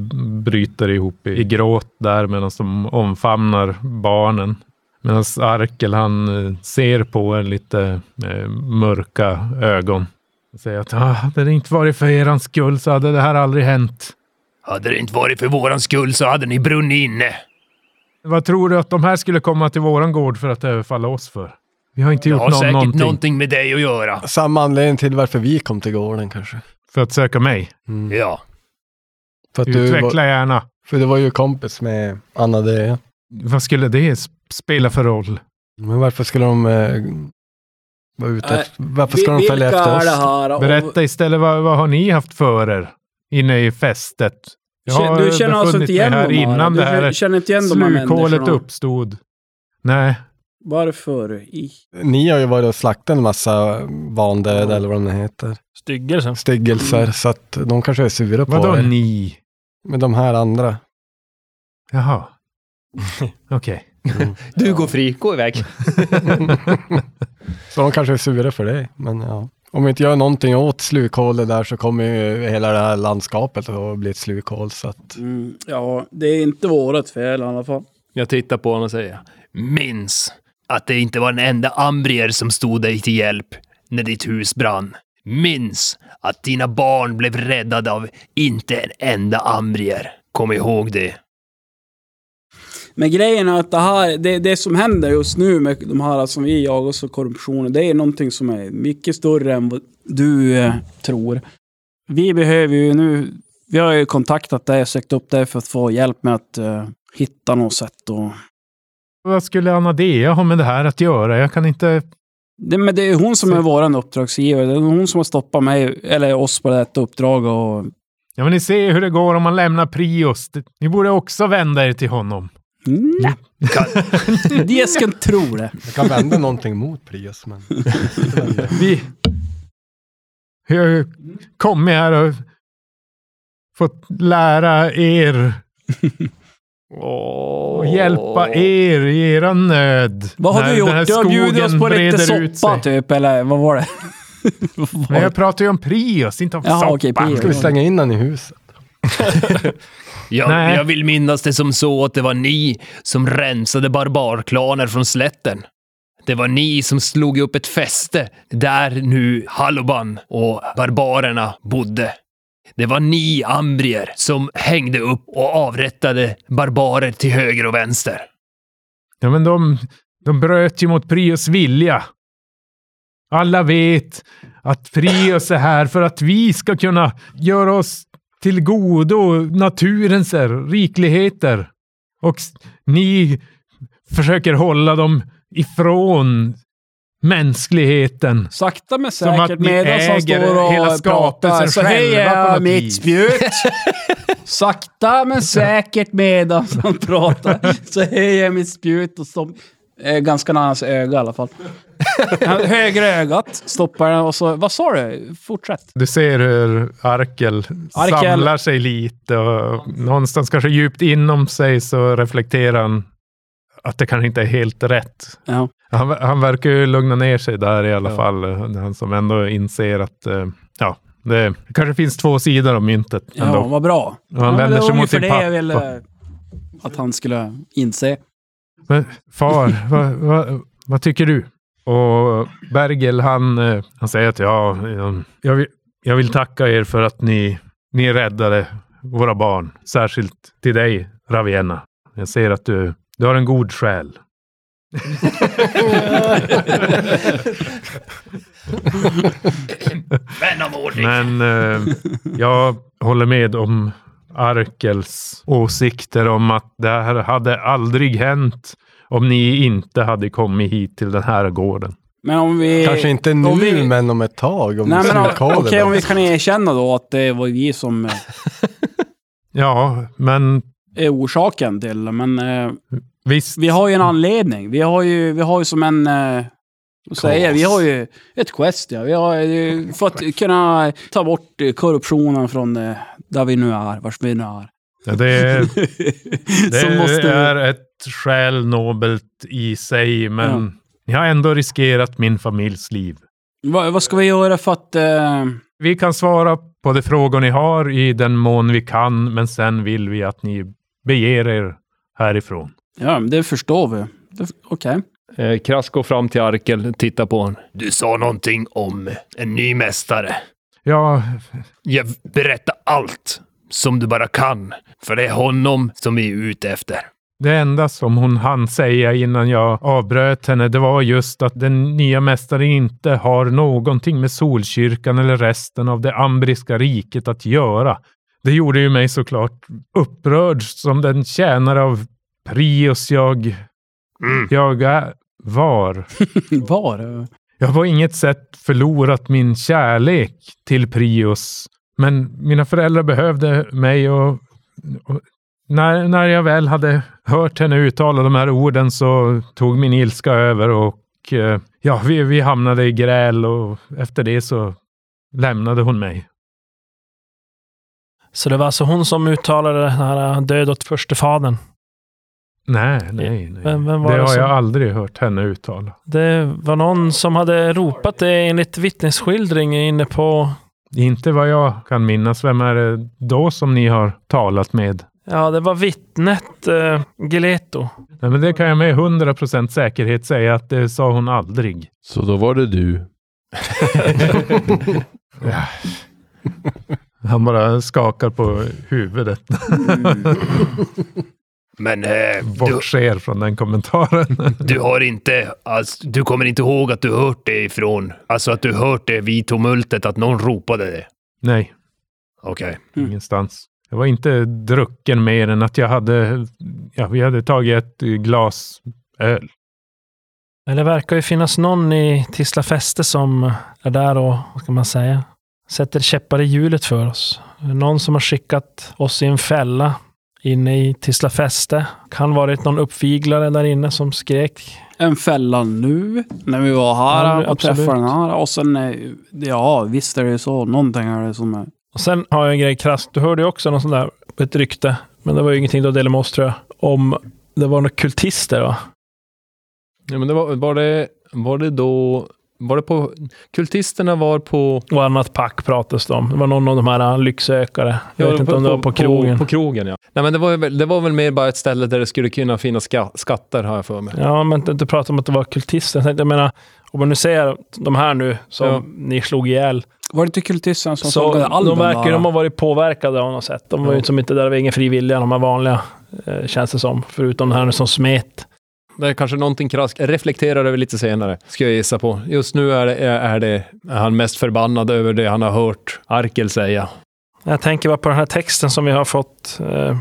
Speaker 4: bryter ihop i, i gråt där medan de omfamnar barnen. Medan Arkel han eh, ser på en lite eh, mörka ögon. Och säger att ah, hade det inte varit för erans skull så hade det här aldrig hänt.
Speaker 6: Hade det inte varit för våran skull så hade ni brunnit inne.
Speaker 4: Vad tror du att de här skulle komma till våran gård för att överfalla oss för? Vi har inte gjort någon någonting.
Speaker 6: med dig att göra.
Speaker 5: Samma anledning till varför vi kom till gården kanske.
Speaker 4: För att söka mig.
Speaker 5: Mm.
Speaker 6: Ja.
Speaker 5: För, att du
Speaker 4: Utveckla
Speaker 5: var,
Speaker 4: gärna.
Speaker 5: för du var ju kompis med Anna Dea.
Speaker 4: Vad skulle det sp- spela för roll?
Speaker 5: Men varför skulle de eh, vara ute
Speaker 2: Nej,
Speaker 5: efter, Varför ska de följa efter oss?
Speaker 2: här? Och-
Speaker 4: Berätta istället, vad, vad har ni haft för er inne i fästet? Jag har
Speaker 2: du känner alltså
Speaker 4: befunnit
Speaker 2: inte igen
Speaker 4: mig här
Speaker 2: dem?
Speaker 4: innan
Speaker 2: du
Speaker 4: det här
Speaker 2: känner inte igen de här
Speaker 4: slukhålet
Speaker 2: människorna?
Speaker 4: uppstod. Nej,
Speaker 2: Varför? I...
Speaker 5: Ni har ju varit och slaktat en massa vandöda eller vad de nu heter.
Speaker 3: Styggelsen.
Speaker 5: Styggelser, så att de kanske är sura på
Speaker 4: vadå
Speaker 5: er.
Speaker 4: ni?
Speaker 5: Men de här andra.
Speaker 4: Jaha. Okej.
Speaker 2: Mm.
Speaker 6: (laughs) Du går fri, gå iväg.
Speaker 5: (laughs) Så de kanske är sura för dig. Men ja. Om vi inte gör någonting åt slukhålet där så kommer ju hela det här landskapet att bli ett slukhål. Så att
Speaker 2: Mm, ja, det är inte vårat fel i alla fall.
Speaker 6: Jag tittar på honom och säger Minns att det inte var en enda ambrier som stod dig till hjälp när ditt hus brann. Minns att dina barn blev räddade av inte en enda ambrier. Kom ihåg det.
Speaker 2: Men grejen är att det här, det, det som händer just nu med de här som vi jagar och korruptionen, det är någonting som är mycket större än vad du eh, tror. Vi behöver ju nu, vi har ju kontaktat dig och sökt upp dig för att få hjälp med att eh, hitta något sätt att
Speaker 4: Vad skulle Anadea ha med det här att göra? Jag kan inte...
Speaker 2: Det, men det är hon som är vår uppdragsgivare. Det är hon som har stoppat mig, eller oss på detta uppdrag. Och,
Speaker 4: Ja, men ni ser hur det går om man lämnar Prius. Det- Ni borde också vända er till honom.
Speaker 2: Nej.
Speaker 4: (laughs)
Speaker 2: Jesken tror det.
Speaker 5: Jag kan vända någonting mot Prius, men...
Speaker 4: Vi... Jag har ju kommit här och fått lära er och hjälpa er i er nöd.
Speaker 2: Vad har
Speaker 4: När
Speaker 2: du
Speaker 4: den här
Speaker 2: gjort? Du har bjudit oss
Speaker 4: skogen
Speaker 2: på lite
Speaker 4: breder ut
Speaker 2: soppa
Speaker 4: sig.
Speaker 2: typ, eller vad var det? Vad var
Speaker 4: Men
Speaker 2: det?
Speaker 4: jag pratar ju om Prius, inte om
Speaker 2: Jaha,
Speaker 4: soppa.
Speaker 2: okej, Prius.
Speaker 5: Ska vi slänga in den i huset?
Speaker 8: Jag,
Speaker 4: Nej.
Speaker 8: jag vill minnas det som så att det var ni som rensade barbarklaner från slätten. Det var ni som slog upp ett fäste där nu Haloban och barbarerna bodde. Det var ni ambrier som hängde upp och avrättade barbarer till höger och vänster.
Speaker 4: Ja, men de, de bröt ju mot Prius vilja. Alla vet att Prius är här för att vi ska kunna göra oss till godo naturens er- rikligheter. Och s- ni försöker hålla dem ifrån mänskligheten.
Speaker 2: Sakta men
Speaker 4: Som att
Speaker 2: säkert,
Speaker 4: ni
Speaker 2: medan han
Speaker 4: äger
Speaker 2: står och
Speaker 4: hela
Speaker 2: pratar
Speaker 4: skapelsen
Speaker 2: så
Speaker 4: själva på
Speaker 2: hejar jag
Speaker 4: något
Speaker 2: mitt
Speaker 4: vis.
Speaker 2: spjut. (laughs) Sakta men säkert medan han pratar så hejar jag mitt spjut och stopp... Eh, ganska nära hans öga i alla fall. Han- Högra ögat stoppar den och så... Vad sa du? Fortsätt.
Speaker 4: Du ser hur Arkel,
Speaker 2: Arkel.
Speaker 4: samlar sig lite och någonstans kanske djupt inom sig så reflekterar han att det kanske inte är helt rätt.
Speaker 2: Ja.
Speaker 4: Han, han verkar ju lugna ner sig där i alla fall. Han som ändå inser att eh, ja, det kanske finns två sidor av myntet.
Speaker 2: Ja,
Speaker 4: ändå.
Speaker 2: vad bra.
Speaker 4: Och han
Speaker 2: Ja,
Speaker 4: vänder
Speaker 2: det
Speaker 4: sig
Speaker 2: var
Speaker 4: mot
Speaker 2: ungefär
Speaker 4: sin
Speaker 2: det
Speaker 4: pappa.
Speaker 2: jag ville att han skulle inse.
Speaker 4: Men far, (laughs) vad, vad, vad tycker du? Och Bergel, han, eh, han säger att ja, eh, jag vill, jag vill tacka er för att ni, ni räddade våra barn. Särskilt till dig, Ravienna. Jag ser att du, du har en god själ.
Speaker 8: Vän av ordning.
Speaker 4: Men eh, jag håller med om Arkels åsikter om att det här hade aldrig hänt om ni inte hade kommit hit till den här gården.
Speaker 2: Men om vi...
Speaker 5: Kanske inte nu,
Speaker 2: Eh, om vi-
Speaker 5: men om ett tag. Om
Speaker 2: Nej, men om-
Speaker 5: lokaler
Speaker 2: okej, om vi
Speaker 5: behövs.
Speaker 2: kan erkänna då att det var vi som eh,
Speaker 4: Ja, men
Speaker 2: är orsaken till men eh,
Speaker 4: visst.
Speaker 2: vi har ju en anledning. Vi har ju, vi har ju som en... Eh, vad säger jag? vi har ju ett quest, ja. Vi har
Speaker 3: (laughs)
Speaker 2: ju, för att kunna ta bort eh, korruptionen från eh, där vi nu är, vars vi nu är.
Speaker 4: Ja,
Speaker 2: (laughs)
Speaker 4: Det är,
Speaker 2: Så
Speaker 4: det
Speaker 2: måste-
Speaker 4: är ett skäl nobelt i sig, men ni har ändå riskerat min familjs liv.
Speaker 2: Vad, vad ska vi göra för att... Eh,
Speaker 4: Vi kan svara på de frågor ni har i den mån vi kan, men sen vill vi att ni beger er härifrån.
Speaker 2: ja, men det förstår vi. Det- Okej. (laughs)
Speaker 6: Eh, Krask går fram till Arkel, tittar på honom.
Speaker 8: Du sa någonting om en ny mästare.
Speaker 4: Ja,
Speaker 8: Jag berättar allt som du bara kan. För det är honom som vi är ute efter.
Speaker 4: det enda som hon hann säga innan jag avbröt henne, det var just att den nya mästaren inte har någonting med Solkyrkan eller resten av det ambriska riket att göra. Det gjorde ju mig såklart upprörd som den tjänare av Prius jag,
Speaker 8: Mm.
Speaker 4: jag är, var.
Speaker 2: Var? eh,
Speaker 4: Jag har på inget sätt förlorat min kärlek till Prius, men mina föräldrar behövde mig och, och när, när jag väl hade hört henne uttala de här orden så tog min ilska över och eh, ja, vi, vi hamnade i gräl och efter det så lämnade hon mig.
Speaker 3: Så det var alltså hon som uttalade den här eh, död åt förstefadern.
Speaker 4: Nej, nej, nej.
Speaker 3: Vem, vem var
Speaker 4: Det
Speaker 3: det,
Speaker 4: har
Speaker 3: som,
Speaker 4: jag aldrig hört henne uttala.
Speaker 3: Det var någon som hade ropat det enligt vittnesskildring inne på...
Speaker 4: Inte vad jag kan minnas. Vem är det då som ni har talat med?
Speaker 3: Ja, det var vittnet eh, Gileto.
Speaker 4: Nej, men det kan jag med 100% säkerhet säga att det sa hon aldrig.
Speaker 7: Så då var det du.
Speaker 4: Han bara skakar på huvudet,
Speaker 8: Men eh, du,
Speaker 4: (laughs) bortser från den kommentaren. (laughs)
Speaker 8: du har inte... Alltså, du kommer inte ihåg att du hört det ifrån... Alltså att du hört det vid tumultet, att någon ropade det.
Speaker 4: Nej,
Speaker 8: Okej.
Speaker 2: Mm.
Speaker 4: ingenstans. Jag var inte drucken mer än att jag hade, ja, vi hade tagit ett glas öl.
Speaker 3: Men det verkar ju finnas någon i Tisla Fäste som är där och, vad ska man säga, sätter käppar i hjulet för oss. Någon som har skickat oss i en fälla inne i Tisla fäste. Kan varit någon uppviglare där inne som skrek.
Speaker 2: En fälla nu, när vi var här
Speaker 3: Ja,
Speaker 2: och
Speaker 3: absolut.
Speaker 2: träffade den här. Och sen, eh, ja visst är det så. Någonting är det som är...
Speaker 3: Och sen har jag en grej krasst. Du hörde ju också någon sån där, ett rykte, men det var ju ingenting du delade med oss tror jag, om det var några kultister va?
Speaker 6: Ja, men det var, var, det, var det då... Var det på... Kultisterna var på...
Speaker 3: Och annat pack pratades det om. Det var någon av de här lycksökare. Jag vet inte om det var på krogen.
Speaker 6: På, krogen, ja. Nej, men det, var, ju väl- det var väl mer bara ett ställe där det skulle kunna finnas ska, skatter, har jag för mig.
Speaker 3: Ja, men du- du pratade om att det var kultister. Jag, tänkte, jag menar, om man nu ser de här nu som
Speaker 6: Ja.
Speaker 3: ni slog ihjäl.
Speaker 2: Var det inte kultisten som
Speaker 3: Så
Speaker 2: sågade alven
Speaker 3: de verkar ju-
Speaker 2: bara?
Speaker 3: de har varit påverkade av något sätt. De var ju
Speaker 6: Ja.
Speaker 3: liksom inte där av egen fri vilja, de här vanliga, eh, känns det som. Förutom den här som smet.
Speaker 6: Det är kanske någonting krask. Reflekterar över lite senare, ska jag gissa på. Just nu är, det, är, det, är han mest förbannad över det han har hört Arkel säga.
Speaker 3: Jag tänker bara på den här texten som vi har fått. Eh,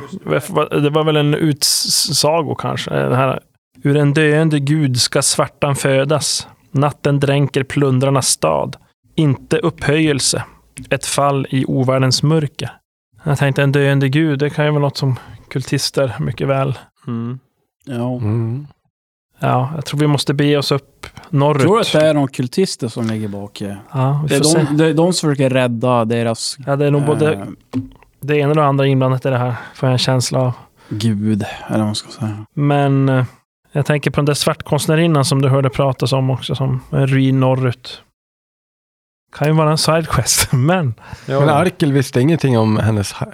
Speaker 3: det var väl en utsago kanske. eh, Den här, Ur en döende gud ska svärtan födas. Natten dränker plundrarnas stad. Inte upphöjelse. Ett fall i ovärldens mörker. Jag tänkte en döende gud, det kan ju vara något som kultister mycket väl.
Speaker 2: Ja.
Speaker 5: Mm.
Speaker 3: Ja, jag tror vi måste bege oss upp norrut.
Speaker 2: Tror du att det är någon kultister som ligger bak? eh?
Speaker 3: Ja, vi
Speaker 2: Det
Speaker 3: får se.
Speaker 2: är de, det är de som försöker rädda deras
Speaker 3: Ja, det är nog
Speaker 2: eh,
Speaker 3: både det ena och det andra inblandat i det här, får jag en känsla av.
Speaker 2: gud, eller vad man ska säga.
Speaker 3: Men eh, jag tänker på den där svartkonstnärinnan som du hörde pratas om också, som en ruin norrut. Kan ju vara en sidequest, (laughs) men
Speaker 5: Men Arkel visste ingenting om hennes ha-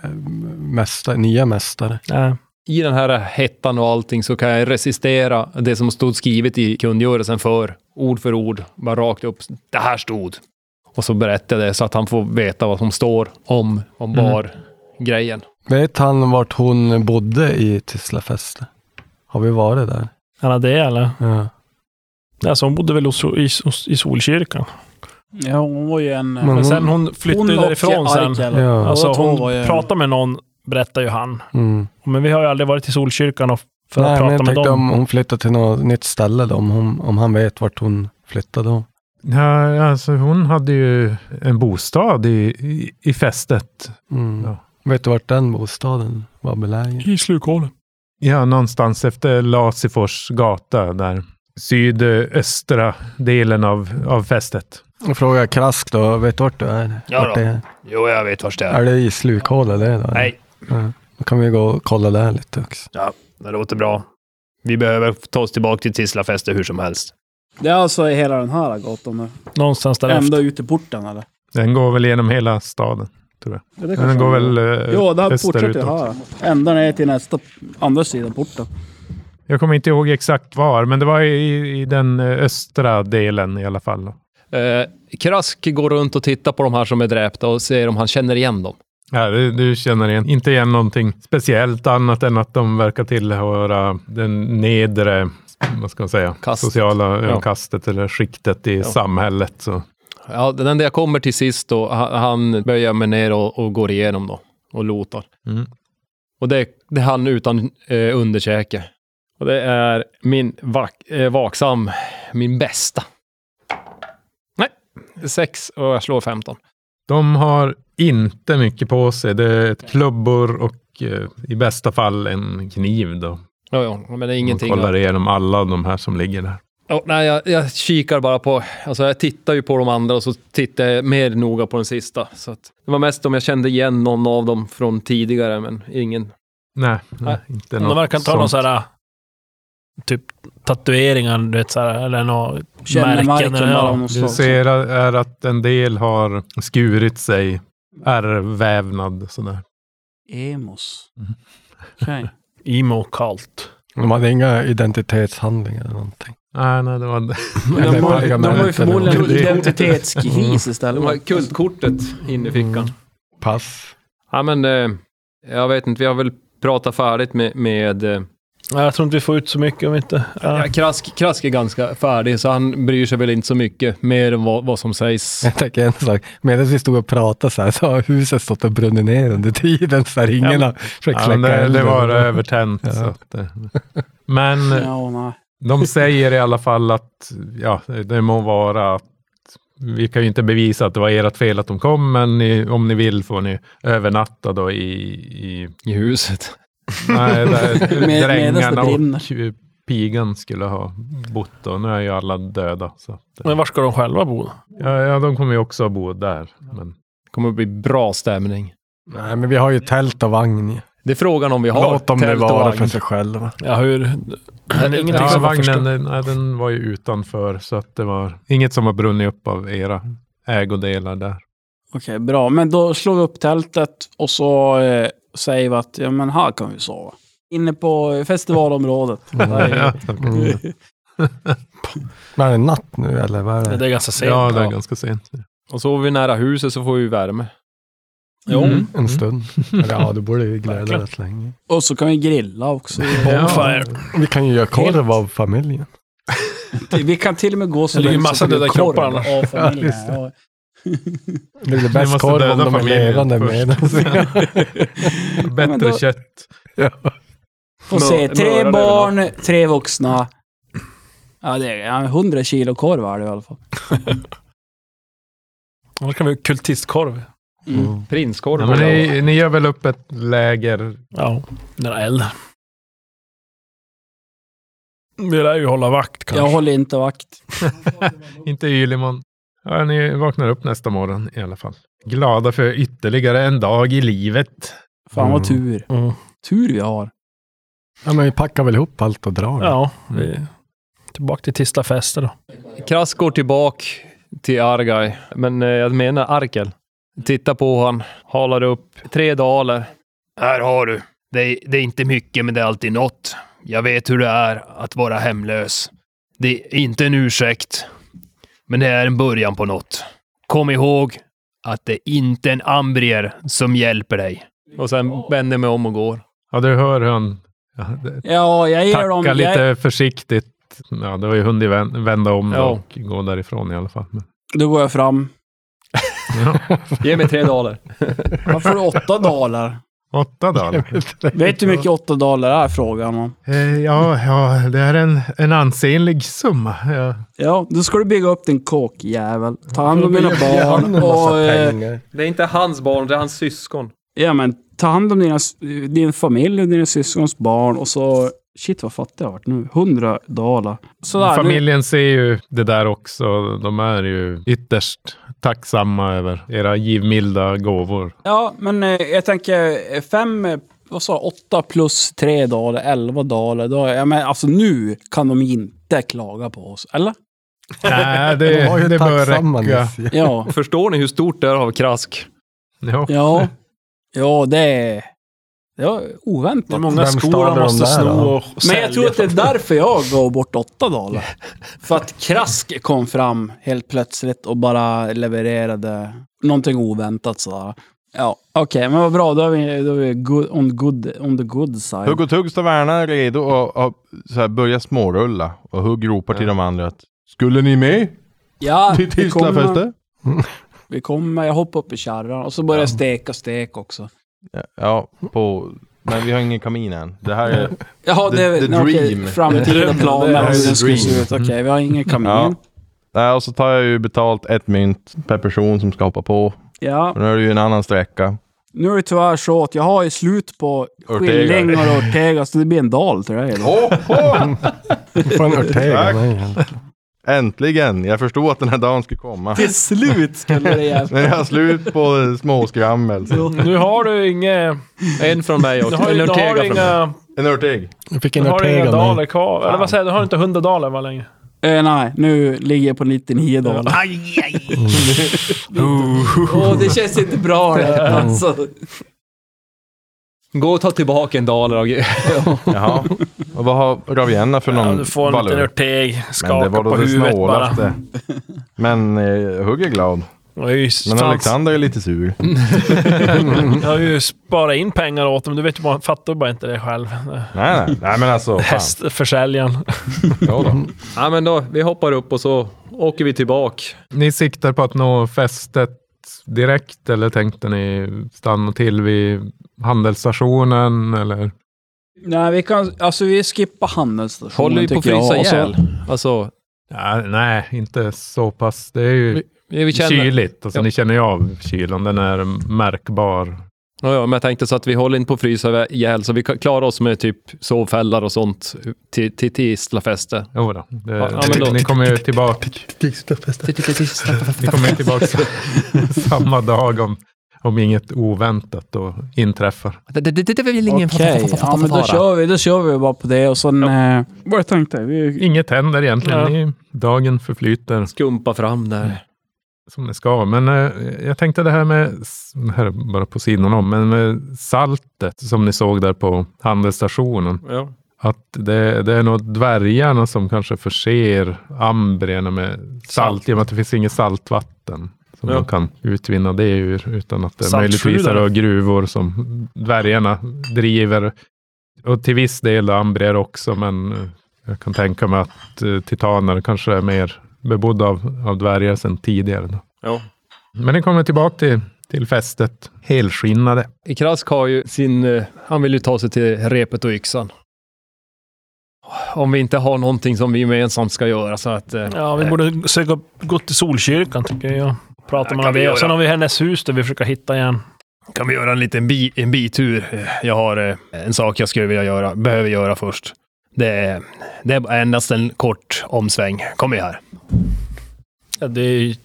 Speaker 5: mästa, nya mästare.
Speaker 3: eh,
Speaker 6: I den här hettan och allting så kan jag resistera det som stod skrivet i kungörelsen för, ord för ord, bara rakt upp. Det här stod. Och så berättar jag det så att han får veta vad som står om, om
Speaker 3: Mm.
Speaker 6: bar grejen.
Speaker 5: Vet han vart hon bodde i Tislafäste? Har vi varit där?
Speaker 3: alla det eller?
Speaker 5: Ja.
Speaker 3: Alltså hon bodde väl hos, i, hos, i Solkyrkan.
Speaker 2: Ja, hon var ju en...
Speaker 5: Men
Speaker 3: Men
Speaker 5: hon-
Speaker 3: sen hon flyttade
Speaker 2: hon och
Speaker 3: därifrån sen.
Speaker 2: Arkel.
Speaker 5: Ja.
Speaker 3: Alltså
Speaker 2: Båda två
Speaker 3: hon
Speaker 2: var ju-
Speaker 3: pratade med någon, berättar ju han.
Speaker 5: Mm.
Speaker 3: Men vi har ju aldrig varit i Solkyrkan och för
Speaker 5: Nej,
Speaker 3: att
Speaker 5: men
Speaker 3: prata
Speaker 5: jag
Speaker 3: med
Speaker 5: tänkte
Speaker 3: dem.
Speaker 5: om hon flyttar till något nytt ställe då, om, hon, om han vet vart hon flyttade då.
Speaker 4: Ja, alltså hon hade ju en bostad i, i, i fästet.
Speaker 5: Mm.
Speaker 4: Ja.
Speaker 5: Vet du vart den bostaden var belägen?
Speaker 3: I slukhålet.
Speaker 4: Ja, någonstans efter Lasifors gata där. Sydöstra delen av, av fästet.
Speaker 5: Jag frågar krasst då, vet du vart du är?
Speaker 8: Ja
Speaker 5: vart
Speaker 8: då.
Speaker 5: det är?
Speaker 8: Jo, jag vet vart det är.
Speaker 5: är det i slukhålet det då?
Speaker 8: Nej.
Speaker 5: Ja. Då kan vi gå och kolla där lite också.
Speaker 8: Det låter bra. Vi behöver ta oss tillbaka till Tislafäste hur som helst.
Speaker 2: Det är alltså i hela den här gatan nu.
Speaker 3: Någonstans där
Speaker 2: Ända ut i porten eller?
Speaker 4: Den går väl genom hela staden.
Speaker 2: Ja, det
Speaker 4: Den
Speaker 2: kanske
Speaker 4: går
Speaker 2: han-
Speaker 4: väl eh,
Speaker 2: Jo, det här
Speaker 4: österut
Speaker 2: fortsätter
Speaker 4: också.
Speaker 2: här. Ända ner till nästa, andra sidan porten.
Speaker 4: Jag kommer inte ihåg exakt var, men det var i, i den eh, östra delen i alla fall.
Speaker 6: Eh, Krask går runt och tittar på de här som är dräpta och ser om han känner igen dem.
Speaker 4: Ja, du, du känner igen, inte igen någonting speciellt annat än att de verkar tillhöra den nedre vad ska man säga,
Speaker 6: Kastet.
Speaker 4: sociala
Speaker 6: Ja.
Speaker 4: ja. kastet eller skiktet i samhället. Så.
Speaker 6: Ja, den där jag kommer till sist då, han, han böjer mig ner och, och går igenom då och lotar.
Speaker 4: Mm.
Speaker 6: Och det, det är han utan eh, underkäke. Och det är min vak, eh, vaksam, min bästa. Nej, sex och jag slår 15.
Speaker 4: De har inte mycket på sig. Det är ett klubbor och eh, i bästa fall en kniv. Då.
Speaker 6: Ja, ja, men det är
Speaker 4: Ingenting
Speaker 6: ingenting.
Speaker 4: de kollar igenom alla de här som ligger där.
Speaker 6: Ja, nej, jag, jag kikar bara på, alltså jag tittar ju på de andra och så tittar jag mer noga på den sista. Så att, det var mest om jag kände igen någon av dem från tidigare, men ingen.
Speaker 4: Nej, nej,
Speaker 6: Nej.
Speaker 4: inte
Speaker 3: De
Speaker 4: något
Speaker 3: verkar inte ha någon
Speaker 4: sånt.
Speaker 3: så här eh, typ tatueringar, du vet, så här, eller något
Speaker 2: Känner marken
Speaker 3: eller
Speaker 2: bara om
Speaker 3: något.
Speaker 2: någon
Speaker 4: Du
Speaker 2: slag.
Speaker 4: ser a- är att en del har skurit sig, ärrvävnad sådär.
Speaker 2: Emos.
Speaker 4: Mm.
Speaker 2: Okej.
Speaker 3: Emo cult.
Speaker 5: De hade inga identitetshandlingar eller någonting.
Speaker 4: Nej, nej, det var
Speaker 5: Eller
Speaker 2: De har- de har ju
Speaker 5: pergament eller
Speaker 2: förmodligen
Speaker 5: någonting.
Speaker 2: identitetskris
Speaker 6: De har
Speaker 2: istället.
Speaker 6: kultkortet inne i fickan.
Speaker 5: Mm. Pass.
Speaker 6: Mm.
Speaker 5: (laughs)
Speaker 6: Ja, men eh, jag vet inte, vi har väl pratat färdigt med... med eh,
Speaker 3: Ja, Jag tror inte vi får ut så mycket om vi inte... Ja.
Speaker 6: ja, Krask, Krask är ganska färdig, så han bryr sig väl inte så mycket mer än vad, vad som sägs.
Speaker 5: Jag tänker en sak, medan vi stod och pratade så här så har huset stått och brunnit ner under tiden så här
Speaker 4: Ja,
Speaker 5: ingen
Speaker 4: men-
Speaker 5: har försökt
Speaker 4: ja,
Speaker 5: släcka
Speaker 4: men det, det
Speaker 5: elden.
Speaker 4: var övertänt. Så att, eh. men
Speaker 2: Ja, nej.
Speaker 4: de säger i alla fall att, ja, det må vara att vi kan ju inte bevisa att det var ert fel att de kom, men ni, om ni vill får ni övernatta då i, i
Speaker 6: I huset.
Speaker 4: Nej, där,
Speaker 2: (laughs) Med- medan
Speaker 4: drängarna
Speaker 2: det brinner.
Speaker 4: och eh, pigan skulle ha bott och nu är ju alla döda. Så att, eh,
Speaker 3: Men var ska de själva bo?
Speaker 4: ja, ja, de kommer ju också att bo där. Men
Speaker 8: Det kommer att bli bra stämning.
Speaker 5: Nej, men vi har ju tält och vagn.
Speaker 8: Det är frågan om vi har
Speaker 5: Låt dem nu
Speaker 8: tält och
Speaker 5: vara
Speaker 8: vagn.
Speaker 5: för sig själva.
Speaker 3: Ja, hur... Men ingenting
Speaker 4: ja,
Speaker 3: som var
Speaker 4: vagnen
Speaker 3: förstört.
Speaker 4: den, nej, den var ju utanför så att det var inget som har brunnit upp av era ägodelar där.
Speaker 2: Okej, bra. Men då slår vi upp tältet och så eh, säger vi att ja, men här kan vi sova. Inne på eh, festivalområdet. Där
Speaker 4: (laughs)
Speaker 2: är-
Speaker 5: Mm. Men är det natt nu eller vad är det?
Speaker 3: Det är ganska sent.
Speaker 4: Ja, det är ganska sent.
Speaker 6: Och sover vi nära huset så får vi värme.
Speaker 3: Jo.
Speaker 2: Mm.
Speaker 5: En stund. Eller, ja, du borde ju glädja dig
Speaker 3: Verkligen.
Speaker 5: rätt länge.
Speaker 2: Och så kan vi grilla
Speaker 3: (laughs)
Speaker 2: också.
Speaker 3: Bonfire.
Speaker 5: Vi kan ju göra korv av familjen.
Speaker 2: Vi kan till och med gå så
Speaker 3: Det ligger
Speaker 2: långt så
Speaker 3: massa
Speaker 2: att det blir
Speaker 3: döda kroppar
Speaker 2: korv
Speaker 3: annars.
Speaker 2: av
Speaker 3: (laughs)
Speaker 2: familjen.
Speaker 5: just
Speaker 2: Ja,
Speaker 4: (laughs)
Speaker 5: Det blir
Speaker 4: måste
Speaker 5: bäst korv om
Speaker 4: döda
Speaker 5: de är
Speaker 4: familjen
Speaker 5: levande
Speaker 4: först.
Speaker 3: (laughs)
Speaker 4: (laughs)
Speaker 5: med.
Speaker 4: Bättre
Speaker 2: då-
Speaker 4: kött.
Speaker 2: Får se.
Speaker 6: Mör-
Speaker 2: Tre
Speaker 6: mördare vill
Speaker 2: barn, tre vuxna. Ja, det är ja, 100 kilo korv är det i alla fall.
Speaker 3: Annars kan vi ha kultistkorv.
Speaker 2: Mm.
Speaker 6: Prinskorv.
Speaker 4: Ja,
Speaker 6: och
Speaker 4: men
Speaker 6: grejer.
Speaker 4: ni, ni gör väl upp ett läger? (laughs)
Speaker 3: Ja, nära eld. Vi lär ju hålla vakt kanske.
Speaker 2: Jag håller inte vakt.
Speaker 4: Inte Ylimon. Ja, ni vaknar upp nästa morgon i alla fall. Glada för ytterligare en dag i livet.
Speaker 2: Fan vad
Speaker 5: Mm.
Speaker 2: tur.
Speaker 3: Mm.
Speaker 2: Tur vi har.
Speaker 5: Ja, men vi packar väl ihop allt och drar.
Speaker 3: Ja, Mm. vi... Tillbaka till Tislafester då.
Speaker 6: Krask går tillbaka till Argai, men eh, jag menar Arkel. Titta på han, halar upp tre daler.
Speaker 8: Här har du. Det är, det är inte mycket, men det är alltid något. Jag vet hur det är att vara hemlös. Det är inte en ursäkt, men det är en början på något. Kom ihåg att det är inte är en ambrier som hjälper dig.
Speaker 6: Och sen vänder mig om och går.
Speaker 4: Ja, du hör hur han ja, det-
Speaker 2: Ja, jag ger dem...
Speaker 4: tackar
Speaker 2: Jag,
Speaker 4: lite försiktigt. Ja, det var ju hunnit vän- vända om
Speaker 6: Ja.
Speaker 4: och gå därifrån i alla fall. Men,
Speaker 2: Då går jag fram.
Speaker 4: ja.
Speaker 6: (laughs) Ge mig tre daler.
Speaker 2: Varför är det åtta dalar?
Speaker 4: Åtta dagar.
Speaker 2: Vet du hur mycket åtta dalar är, frågar man.
Speaker 4: Eh, ja, ja, det är en, en ansenlig summa. Ja.
Speaker 2: Ja, då ska du bygga upp din kåkjävel. Ta hand om dina barn och... eh,
Speaker 6: Det är inte hans barn, det är hans syskon.
Speaker 2: Ja, men ta hand om dina, s- din familj och dina syskons barn och så... Shit vad fattig jag har varit nu. Hundra dalar. Sådär, nu,
Speaker 4: Familjen ser ju det där också. De är ju ytterst tacksamma över era givmilda gåvor.
Speaker 2: ja, men eh, jag tänker eh, fem... eh, Vad sa jag? Åtta plus tre dalar, elva dalar. Då, ja, men alltså nu kan de inte klaga på oss, eller?
Speaker 4: Nej,
Speaker 5: De var
Speaker 4: det,
Speaker 5: ju
Speaker 4: det bör
Speaker 5: tacksamma
Speaker 4: räcka.
Speaker 5: nyss. ju.
Speaker 2: Ja.
Speaker 6: Förstår ni hur stort det är av Krask?
Speaker 4: Ja.
Speaker 2: Ja. Ja, det... Det var oväntat.
Speaker 3: Det är många
Speaker 5: Vem
Speaker 3: skor
Speaker 5: stal
Speaker 3: han
Speaker 5: de
Speaker 3: måste
Speaker 5: där,
Speaker 3: sno
Speaker 5: då?
Speaker 3: och
Speaker 2: Men
Speaker 3: sälja.
Speaker 2: jag tror att det är därför jag gav bort åtta
Speaker 7: (laughs)
Speaker 2: dalar. För att Krask kom fram helt plötsligt och bara levererade någonting oväntat sådär. Ja, okej, men vad bra. Då är vi, då är vi good, on, good, on the good side.
Speaker 7: Hugg och Tugg står värna redo och, och så här, börjar smårulla. Och Hugg ropar till de andra att Skulle ni med (laughs)
Speaker 2: ja,
Speaker 7: till
Speaker 2: vi Ah, kommer,
Speaker 7: Tislafester?
Speaker 2: vi kommer. Jag hoppar upp i kärran och så börjar jag steka stek också.
Speaker 7: Ja, ja, på... Men vi har ingen kamin än. Det här är...
Speaker 2: Jaha,
Speaker 7: The-
Speaker 2: det är
Speaker 7: the
Speaker 2: nej, okej,
Speaker 7: dream. (laughs)
Speaker 2: framtida planer.
Speaker 7: är
Speaker 2: hur
Speaker 7: the
Speaker 2: det ska se ut.
Speaker 7: dream.
Speaker 2: Okej, vi har ingen kamin.
Speaker 7: Ja.
Speaker 2: Ja.
Speaker 7: (laughs) Nej, och så tar jag ju betalt ett mynt per person som ska hoppa på. Men nu är det ju en annan sträcka.
Speaker 2: nu är det tyvärr så att jag har ju slut på
Speaker 7: Ortega.
Speaker 2: skilling och Ortega, så det blir en dal till dig. då.
Speaker 5: Du får en Ortega
Speaker 7: Tack.
Speaker 5: av mig.
Speaker 7: (laughs) Äntligen! Jag förstod att den här dagen skulle
Speaker 2: (laughs)
Speaker 7: komma.
Speaker 2: Till slut skulle det hjälpa.
Speaker 7: Men jag har slut på småskrammel. så.
Speaker 3: Nu har du inga...
Speaker 6: En från mig
Speaker 3: Nu
Speaker 6: också.
Speaker 3: har,
Speaker 6: En
Speaker 3: nu har
Speaker 6: Ortega
Speaker 3: du
Speaker 6: från mig.
Speaker 3: inga...
Speaker 7: En örtig.
Speaker 5: Jag fick
Speaker 3: Nu
Speaker 5: en
Speaker 3: har du
Speaker 5: Ortega
Speaker 3: inga
Speaker 5: av
Speaker 3: daler
Speaker 5: mig.
Speaker 3: kvar. Eller vad säger jag? Du har inte hundra daler var länge.
Speaker 2: Eh, nej, nu ligger jag på 99 dollar.
Speaker 8: Aj, aj.
Speaker 2: Mm. Åh, det känns inte bra (laughs) det. Alltså.
Speaker 6: Gå och ta tillbaka en daler av
Speaker 7: Jaha. Och vad har Ravienna för någon
Speaker 3: Ja, du får en liten
Speaker 7: valör?
Speaker 3: örteg.
Speaker 7: Men det
Speaker 3: Skaka
Speaker 7: var
Speaker 3: på
Speaker 7: då det
Speaker 3: huvudet bara.
Speaker 7: snålaste. Men eh, Hugg är liksom- glad.
Speaker 3: Jag har ju
Speaker 7: Men
Speaker 3: fan-
Speaker 7: Alexander är lite sur.
Speaker 3: Jag har ju sparat in pengar åt dem. Du vet ju bara, fattar bara inte det själv.
Speaker 7: Nej, nej. nej men alltså. Fan.
Speaker 3: Hästförsäljaren.
Speaker 7: Ja, då.
Speaker 6: Ja, men då, vi hoppar upp och så åker vi tillbaka.
Speaker 4: Ni siktar på att nå fästet direkt eller tänkte ni stanna till vid handelsstationen eller?
Speaker 2: Nej, vi kan... Alltså vi skippar handelsstationen
Speaker 6: Håller vi på att
Speaker 2: tycker jag.
Speaker 6: frysa
Speaker 2: Och så-
Speaker 6: ihjäl? Alltså,
Speaker 4: Ja, nej, inte så pass. Det är ju
Speaker 6: vi känner...
Speaker 4: kyligt. Alltså,
Speaker 6: Ja.
Speaker 4: Ni känner ju av kylan. Den är märkbar.
Speaker 6: Ja, ja, men jag tänkte så att vi håller inte på att frysa ihjäl, så vi klarar oss med typ sovfällar och sånt till, till Tislafäste.
Speaker 4: Jo då, det,
Speaker 6: Ja, men då-
Speaker 4: ni kommer ju tillbaka, ni kommer ju tillbaka (laughs) samma dag om, om inget oväntat då inträffar.
Speaker 8: Det, det, det, det är väl ingen
Speaker 2: Okej, ja, dus men då kör vi. Då kör vi bara på det och sen... Eh, vad jag tänkte. Vi,
Speaker 4: Inget händer egentligen. Ni, dagen förflyter
Speaker 6: Skumpa fram där.
Speaker 4: som det ska. Men eh, jag tänkte det här med, det här är bara på sidan om, men med saltet som ni såg där på handelsstationen.
Speaker 6: Ja.
Speaker 4: Att det, det är nog dvärgarna som kanske förser ambrierna med salt, i och med att det finns inget saltvatten. Som
Speaker 6: Ja.
Speaker 4: de kan utvinna det ur, utan att det
Speaker 3: Saltsjuda.
Speaker 4: möjligtvis är då gruvor som dvärgarna driver. Och till viss del ambrier också, men eh, jag kan tänka mig att eh, titaner kanske är mer bebodda av, av dvärgar sedan tidigare. Då.
Speaker 6: Ja.
Speaker 4: Men ni kommer tillbaka till, till fästet helskinnade.
Speaker 6: Krask har ju sin... eh, Han vill ju ta sig till repet och yxan. Om vi inte har någonting som vi gemensamt ska göra så att... eh,
Speaker 3: Ja, vi borde söka gå till Solkyrkan tycker jag. Pratar man
Speaker 8: kan
Speaker 3: om
Speaker 8: vi
Speaker 3: det.
Speaker 8: göra.
Speaker 3: Och sen har vi hennes hus där vi försöker hitta igen.
Speaker 8: Kan vi göra en liten bi, en bitur? Eh, Jag har eh, en sak jag skulle vilja göra, behöver göra först. Det är, det är endast en kort omsväng. Kom med här.
Speaker 3: Ja, det är ju t-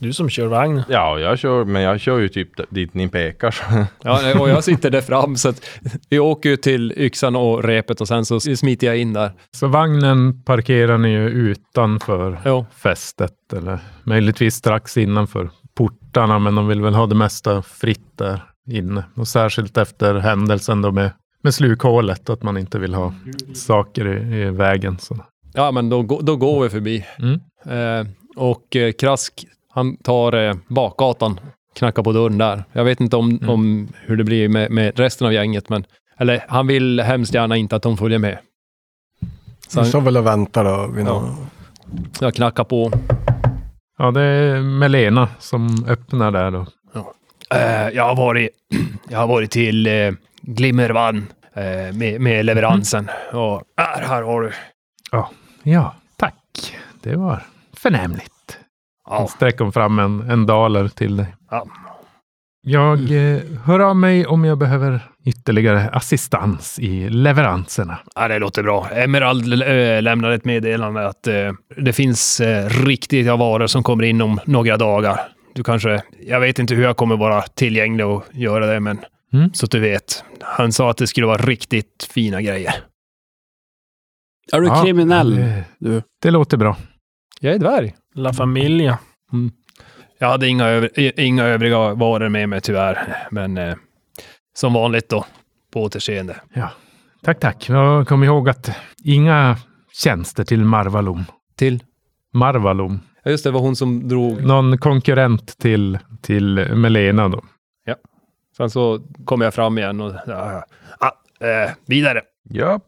Speaker 3: du som kör vagn.
Speaker 7: Ja, jag kör, men jag kör ju typ d- dit ni pekar. så-
Speaker 6: Ja, och jag sitter där fram så att vi åker ju till yxan och repet och sen så smiter jag in där.
Speaker 4: Så vagnen parkerar ni ju utanför
Speaker 6: Jo.
Speaker 4: fästet eller möjligtvis strax innanför portarna, men de vill väl ha det mesta fritt där inne. Och särskilt efter händelsen då med, med slukhålet, att man inte vill ha saker i, i vägen. Så.
Speaker 6: Ja, men då, gå- då går vi förbi.
Speaker 4: Mm.
Speaker 6: Eh, och eh, Krask, han tar eh, bakgatan, knackar på dörren där. Jag vet inte om,
Speaker 3: Mm.
Speaker 6: om hur det blir med, med resten av gänget, men eller han vill hemskt gärna inte att de följer med. Så
Speaker 5: Vi
Speaker 6: han,
Speaker 5: står väl och väntar då. Vid
Speaker 6: Ja.
Speaker 5: någon.
Speaker 6: jag knackar på.
Speaker 4: Ja, det är Melena som öppnar där då.
Speaker 8: Eh, jag, har varit, (clears throat) jag har varit till eh, Glimmervann eh, med, med leveransen. Och här, här har du.
Speaker 4: Ja, tack. Det var förnämligt.
Speaker 8: Ja.
Speaker 4: Sträcker hon fram en, en daler till dig.
Speaker 8: Ja.
Speaker 4: Jag eh, hör av mig om jag behöver ytterligare assistans i leveranserna.
Speaker 8: Ja, det låter bra. Emerald eh, lämnar ett meddelande att eh, det finns eh, riktiga varor som kommer in om några dagar. Du kanske, jag vet inte hur jag kommer vara tillgänglig och göra det, men
Speaker 4: Mm.
Speaker 8: så att du vet. Han sa att det skulle vara riktigt fina grejer.
Speaker 2: är du
Speaker 4: Ja,
Speaker 2: kriminell?
Speaker 4: det-
Speaker 2: du?
Speaker 4: Det låter bra.
Speaker 6: Jag är dvärg.
Speaker 3: La Familia.
Speaker 8: Jag hade inga, över, i- inga övriga varor med mig tyvärr, men eh, som vanligt då, på återseende.
Speaker 4: Tack, tack. Jag kom ihåg att inga tjänster till Marvalom.
Speaker 6: Till?
Speaker 4: Marvalom.
Speaker 6: Ja, just det, var hon som drog.
Speaker 4: Någon konkurrent till, till Melena då.
Speaker 6: Sen så kommer jag fram igen och ja, ja.
Speaker 8: Ah, eh, vidare.
Speaker 7: Ja,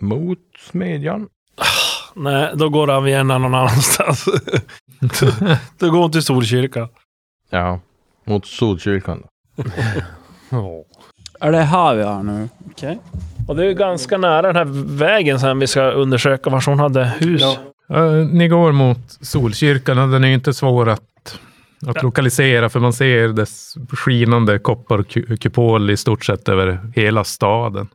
Speaker 7: mot smedjan.
Speaker 3: Nej, då går han igen någon annanstans. (laughs) då går hon till Solkyrkan.
Speaker 7: Ja, mot Solkyrkan. då.
Speaker 2: Är det här vi är nu? Okej.
Speaker 3: Och det är ju ganska nära den här vägen sen vi ska undersöka var hon hade hus.
Speaker 4: Eh, ni går mot Solkyrkan och den är ju inte svår att, att lokalisera för man ser dess skinande kopparkupol i stort sett över hela staden.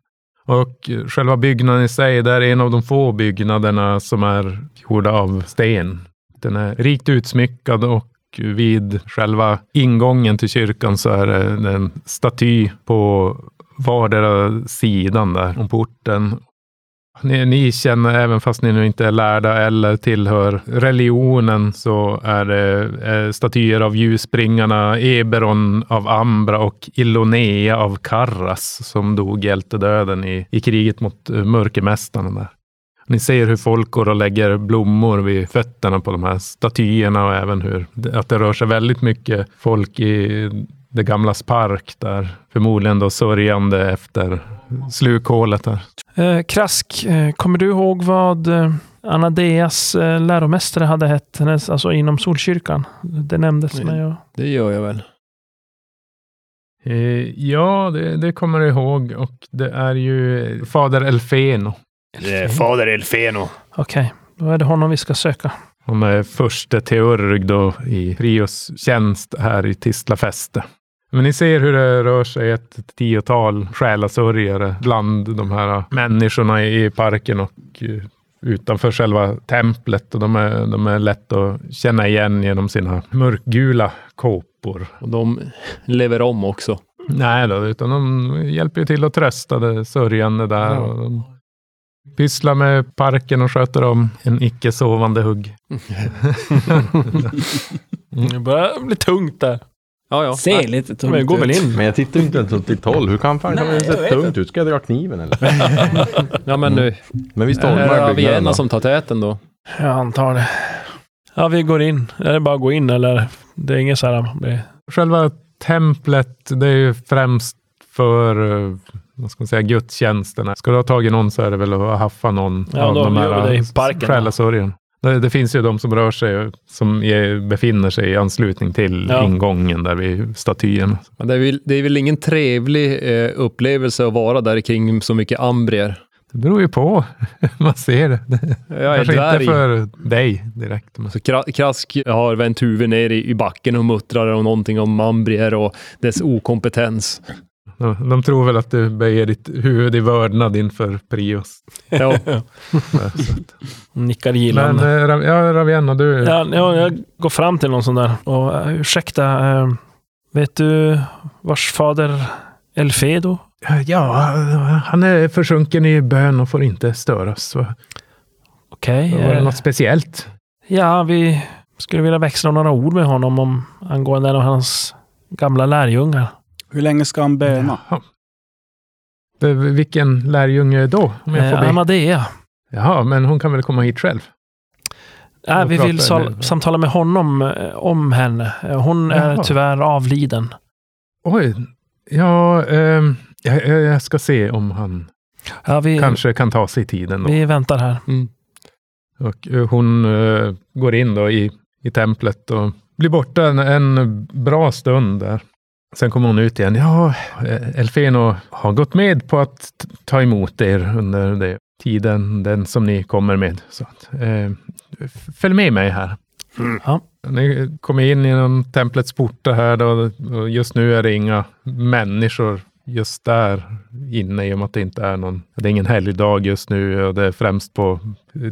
Speaker 4: Och eh, själva byggnaden i sig, där är en av de få byggnaderna som är gjorda av sten. Den är rikt utsmyckad och vid själva ingången till kyrkan så är det en staty på vardera sidan där om porten. Ni, ni känner, även fast ni nu inte är lärda eller tillhör religionen, så är det eh, statyer av ljusbringarna Eberon av Ambra och Ilonea av Karras som dog hjältedöden i, i kriget mot eh, mörkermästarna där. Ni ser hur folk går och lägger blommor vid fötterna på de här statyerna och även hur att det rör sig väldigt mycket folk i det gamlas park där, förmodligen då sörjande efter slukhålet där.
Speaker 3: Eh, Krask, eh, kommer du ihåg vad eh, Anadeas eh, läromästare hade hett? Hennes, alltså inom Solkyrkan. Det nämndes
Speaker 6: Mm.
Speaker 3: mig. Och...
Speaker 6: det gör jag väl.
Speaker 4: Eh, ja, det, det kommer jag ihåg. Och det är ju Fader Elfeno.
Speaker 8: Eh, fader Elfeno.
Speaker 3: Okej, då är det honom vi ska söka.
Speaker 4: Hon är förste teurg då i Prios tjänst här i Tislafäste. Men ni ser hur det rör sig ett tiotal själasörjare bland de här människorna i parken och eh, utanför själva templet. Och de, är, de är lätt att känna igen genom sina mörkgula kåpor.
Speaker 8: Och de lever om också.
Speaker 4: Nej då, utan de hjälper ju till att trösta det sörjande där. Och de pysslar med parken och sköter om en icke
Speaker 3: (laughs)
Speaker 4: sovande hugg.
Speaker 3: Det börjar bli tungt där.
Speaker 8: Ja, ja.
Speaker 2: Ser lite tungt
Speaker 3: Men gå väl
Speaker 2: ut.
Speaker 3: in.
Speaker 7: Men jag tittar ju inte ens åt ditt håll. Hur kan fan kan det se tungt ut? Ska jag dra
Speaker 6: (laughs)
Speaker 7: kniven eller?
Speaker 8: Ja, men nu
Speaker 7: Men vi
Speaker 8: är det
Speaker 7: stormar byggnaden.
Speaker 8: Avienna som tar täten då.
Speaker 3: Jag antar det. Ja, vi går in. Är det bara att gå in eller? Det är inget så här... man blir-
Speaker 4: Själva templet, det är ju främst för eh, vad ska man säga, gudstjänsterna. Ska du ha tagit någon så är det väl att haffa någon
Speaker 3: Ja,
Speaker 4: av
Speaker 3: då
Speaker 4: de
Speaker 3: gör vi
Speaker 4: här
Speaker 3: det i
Speaker 4: eh,
Speaker 3: parken då.
Speaker 4: själasörjen. Det, det finns ju de som rör sig, som är, befinner sig i anslutning till
Speaker 3: Ja.
Speaker 4: ingången där vid statyn.
Speaker 8: Men det, är väl, det är väl ingen trevlig eh, upplevelse att vara där kring så mycket ambrier.
Speaker 4: Det beror ju på. (laughs) man ser det.
Speaker 8: Jag är
Speaker 4: Kanske inte
Speaker 8: dvärg.
Speaker 4: för dig direkt. Men.
Speaker 8: Så Alltså, Kra- Krask har vänt huvudet ner i, i backen och muttrar om någonting om ambrier och dess okompetens.
Speaker 4: De, de tror väl att du böjer ditt huvud i vördnad inför
Speaker 3: (laughs)
Speaker 4: Prios.
Speaker 8: (laughs) Ja,
Speaker 3: Nickar
Speaker 4: Men
Speaker 3: gillande.
Speaker 4: eh, Ra- ja, Ravienna, du...
Speaker 3: Ja, ja, jag går fram till någon sån där och eh, ursäkta, eh, vet du vars fader Elfedo?
Speaker 4: Ja, han är försjunken i bön och får inte störas. Va?
Speaker 3: Okej.
Speaker 4: Var det
Speaker 3: eh,
Speaker 4: något speciellt?
Speaker 3: Ja, vi skulle vilja växla några ord med honom om angående en av hans gamla lärjungar.
Speaker 2: Hur länge ska han böna?
Speaker 4: Jaha. Eh, Vilken lärjunge då? Om jag får
Speaker 3: Eh,
Speaker 4: be?
Speaker 3: Amadea.
Speaker 4: Jaha, men hon kan väl komma hit själv?
Speaker 3: Nej,
Speaker 4: Jag
Speaker 3: vi
Speaker 4: pratar
Speaker 3: vill
Speaker 4: nu,
Speaker 3: sal-
Speaker 4: va?
Speaker 3: samtala med honom eh, om henne. Eh, Hon är
Speaker 4: Jaha.
Speaker 3: tyvärr avliden.
Speaker 4: Oj, ja, ehm, jag, jag- jag ska se om han
Speaker 3: Ja, vi,
Speaker 4: kanske kan ta sig tiden. Då.
Speaker 3: vi väntar här.
Speaker 4: Och eh, hon eh, går in då i, i templet och blir borta en, en bra stund där. Sen kommer hon ut igen. Ja, eh, Elfeno har gått med på att t- ta emot er under det, tiden, den som ni kommer med. Så att, eh, f- följ med mig här. Mm.
Speaker 3: Ja.
Speaker 4: Ni kommer in genom templets portar här då, och just nu är det inga människor just där inne i och med att det inte är någon, det är ingen helgdag just nu och det är främst på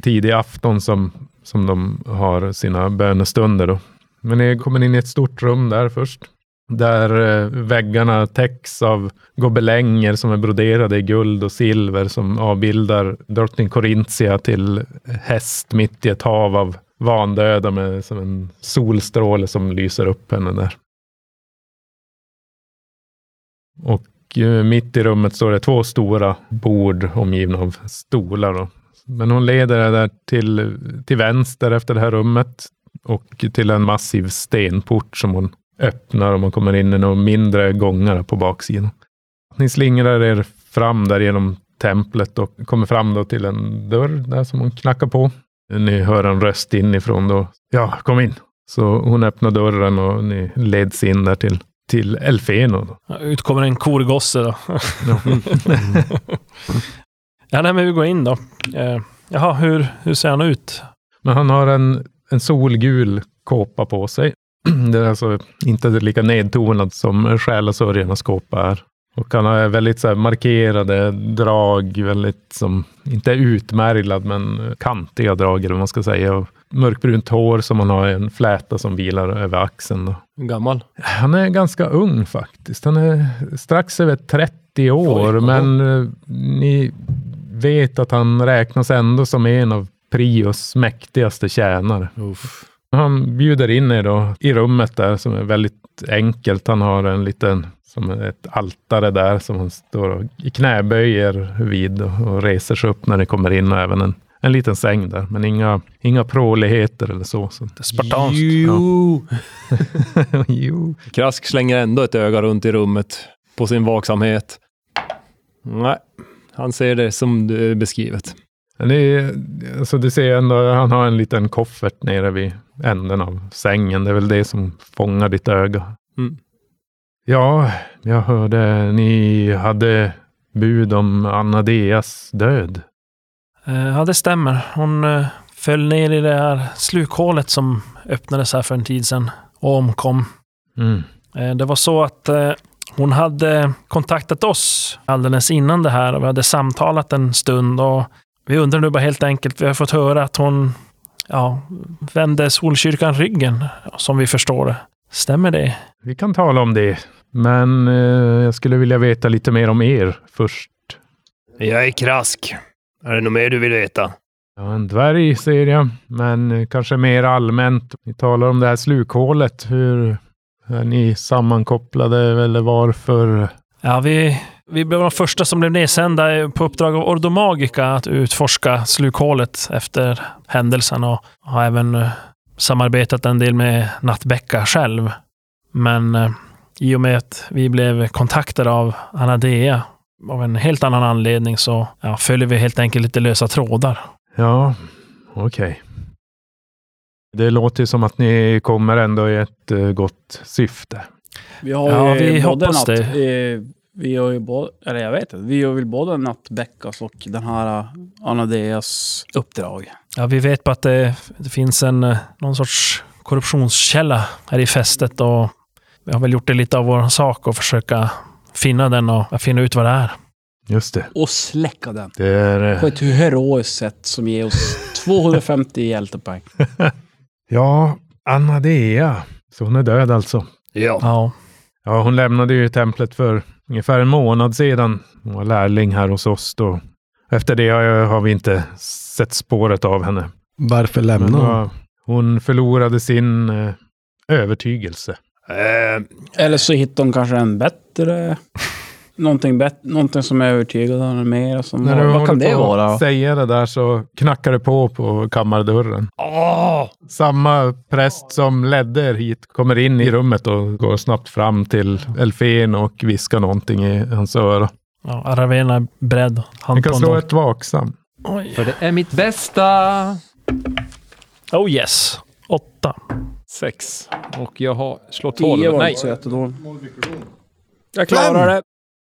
Speaker 4: tidig afton som, som de har sina bönestunder då. Men ni kommer in i ett stort rum där först. Där eh, väggarna täcks av gobelänger som är broderade i guld och silver som avbildar drottning Corinthia till häst mitt i ett hav av vandöda med som en solstråle som lyser upp henne där. Och eh, mitt i rummet står det två stora bord omgivna av stolar. Då. Men hon leder det där till, till vänster efter det här rummet och till en massiv stenport som hon öppnar och man kommer in i några mindre gångar på baksidan. Ni slingrar er fram där genom templet och kommer fram då till en dörr där som hon knackar på. Ni hör en röst inifrån då. Ja, kom in. Så hon öppnar dörren och ni leds in där till, till Elfeno. Då.
Speaker 3: Ut kommer en korgosse då. (laughs) ja, nej, men vi går in då. Eh, jaha, hur, hur ser han ut?
Speaker 4: Men han har en, en solgul kåpa på sig. (clears throat) Det är alltså inte lika nedtonad som själasörjarnas kåpa är. Och han har väldigt så här markerade drag, väldigt som, inte utmärglad, men kantiga drag eller vad man ska säga. Och mörkbrunt hår som han har i en fläta som vilar över axeln. Då.
Speaker 8: gammal.
Speaker 4: Han är ganska ung faktiskt. Han är strax över 30 år, men eh, ni vet att han räknas ändå som en av Prios mäktigaste tjänare. Han bjuder in er då i rummet där som är väldigt enkelt. Han har en liten, som ett altare där som han står och i knäböjer vid och, och reser sig upp när ni kommer in och även en, en liten säng där. Men inga, inga pråligheter eller så. så.
Speaker 3: Spartanskt.
Speaker 8: Jo.
Speaker 4: (laughs) jo.
Speaker 8: Krask slänger ändå ett öga runt i rummet på sin vaksamhet. Nej, han ser det som det är beskrivet.
Speaker 4: Men Det är, alltså du ser ändå, han har en liten koffert nere vid änden av sängen. Det är väl det som fångar ditt öga.
Speaker 8: Mm.
Speaker 4: Ja, jag hörde ni hade bud om Anadeas död.
Speaker 3: Eh, ja, det stämmer. Hon eh, föll ner
Speaker 4: Mm.
Speaker 3: i det här slukhålet som öppnades här för en tid sedan och omkom. Eh, Det var så att eh, hon hade kontaktat oss alldeles innan det här och vi hade samtalat en stund. Och vi undrar nu bara helt enkelt, vi har fått höra att hon ja, vände Solkyrkan ryggen, som vi förstår det. Stämmer det?
Speaker 4: Vi kan tala om det, men eh, jag skulle vilja veta lite mer om er först.
Speaker 8: Jag är Krask. Är det något mer du vill veta?
Speaker 4: Ja, en dvärg ser jag, men eh, kanske mer allmänt. Ni talar om det här slukhålet. Hur är ni sammankopplade eller varför?
Speaker 3: Ja, vi, vi blev de första som blev nedsända på uppdrag av Ordomagica att utforska slukhålet efter händelsen och har även eh, samarbetat en del med Nattbäcka själv. Men eh, i och med att vi blev kontaktade av Anadea av en helt annan anledning så ja, följer vi helt enkelt lite lösa trådar.
Speaker 4: Ja, okej. Det låter ju som att ni kommer ändå i ett eh, gott syfte.
Speaker 2: Vi har
Speaker 3: Ja,
Speaker 2: ju
Speaker 3: vi
Speaker 2: både
Speaker 3: hoppas
Speaker 2: natt,
Speaker 3: det.
Speaker 2: eh, Vi har ju både, eller jag vet inte, vi gör väl både Nattbäckas och den här eh, Anadeas uppdrag.
Speaker 3: Ja, vi vet på att det, det finns en, eh, någon sorts korruptionskälla här i fästet och vi har väl gjort det lite av vår sak att försöka finna den och finna ut vad det är.
Speaker 4: Just det.
Speaker 2: Och släcka den
Speaker 4: Det är... eh,
Speaker 2: på ett heroiskt sätt som ger oss
Speaker 3: (laughs)
Speaker 2: 250 hjältepoäng.
Speaker 4: (laughs) Ja, Anadea. Så hon är död alltså.
Speaker 8: Ja.
Speaker 3: Ja,
Speaker 4: Ja, hon lämnade ju templet för ungefär en månad sedan. Hon var lärling här hos oss då. Efter det har, jag, har vi inte sett spåret av henne.
Speaker 5: Varför lämna
Speaker 4: Men
Speaker 5: honom?
Speaker 4: vad- hon förlorade sin eh, övertygelse.
Speaker 8: Eh,
Speaker 2: Eller så hittar de kanske en bättre... Någonting, bet, någonting som är övertygad henne mer. Som,
Speaker 4: När du
Speaker 2: vad vad kan
Speaker 4: håller
Speaker 2: det
Speaker 4: på att
Speaker 2: vara?
Speaker 4: Säga det där så knackar det på på kammardörren.
Speaker 2: Ah!
Speaker 8: åh!
Speaker 4: Samma präst som ledde er hit kommer in i rummet och går snabbt fram till Elfen och viskar någonting i hans öra.
Speaker 3: ja Aravena är beredd.
Speaker 4: Ni
Speaker 3: Han
Speaker 4: kan
Speaker 3: på
Speaker 4: slå
Speaker 3: noll.
Speaker 4: ett vaksam.
Speaker 3: Oj.
Speaker 8: För det är mitt bästa!
Speaker 3: Oh yes. Åtta.
Speaker 6: Sex. Och jag har slår
Speaker 2: 10
Speaker 6: 12.
Speaker 2: var
Speaker 6: Nej,
Speaker 2: inte så jättedåligt. Jag klarar det.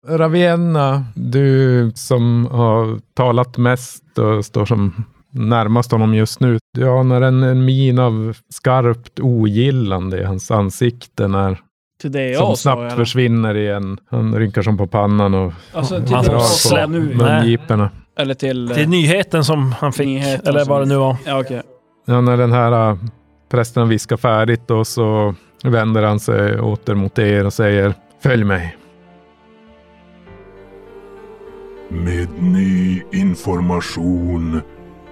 Speaker 4: Ravienna, du som har talat mest och står som närmast honom just nu. Du anar en, en min av skarpt ogillande i hans ansikte när,
Speaker 2: Till det
Speaker 4: som
Speaker 2: jag sa.
Speaker 4: snabbt
Speaker 2: eller?
Speaker 4: försvinner igen. Han rynkar som på pannan och
Speaker 2: Alltså till
Speaker 3: Han
Speaker 2: det jag
Speaker 3: får
Speaker 2: sa
Speaker 3: släpp-
Speaker 2: nu.
Speaker 3: Nej.
Speaker 4: mungiporna.
Speaker 2: Eller till... eh,
Speaker 3: Det är nyheten som han fick,
Speaker 2: Nyheten
Speaker 3: eller
Speaker 2: som-
Speaker 3: vad det nu var.
Speaker 2: Ja, okej.
Speaker 4: Ja, när den här äh, prästen viskar färdigt och så vänder han sig åter mot er och säger Följ mig.
Speaker 1: Med ny information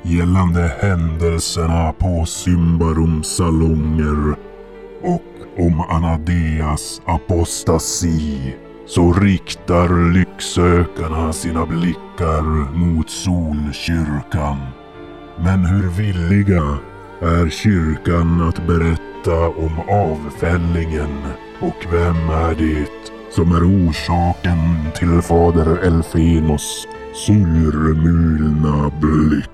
Speaker 1: gällande händelserna på Symbarums salonger och om Anadeas apostasi så riktar lycksökarna sina blickar mot Solkyrkan. Men hur villiga är kyrkan att berätta om avfällingen och vem är det som är orsaken till fader Elfenos surmulna blick.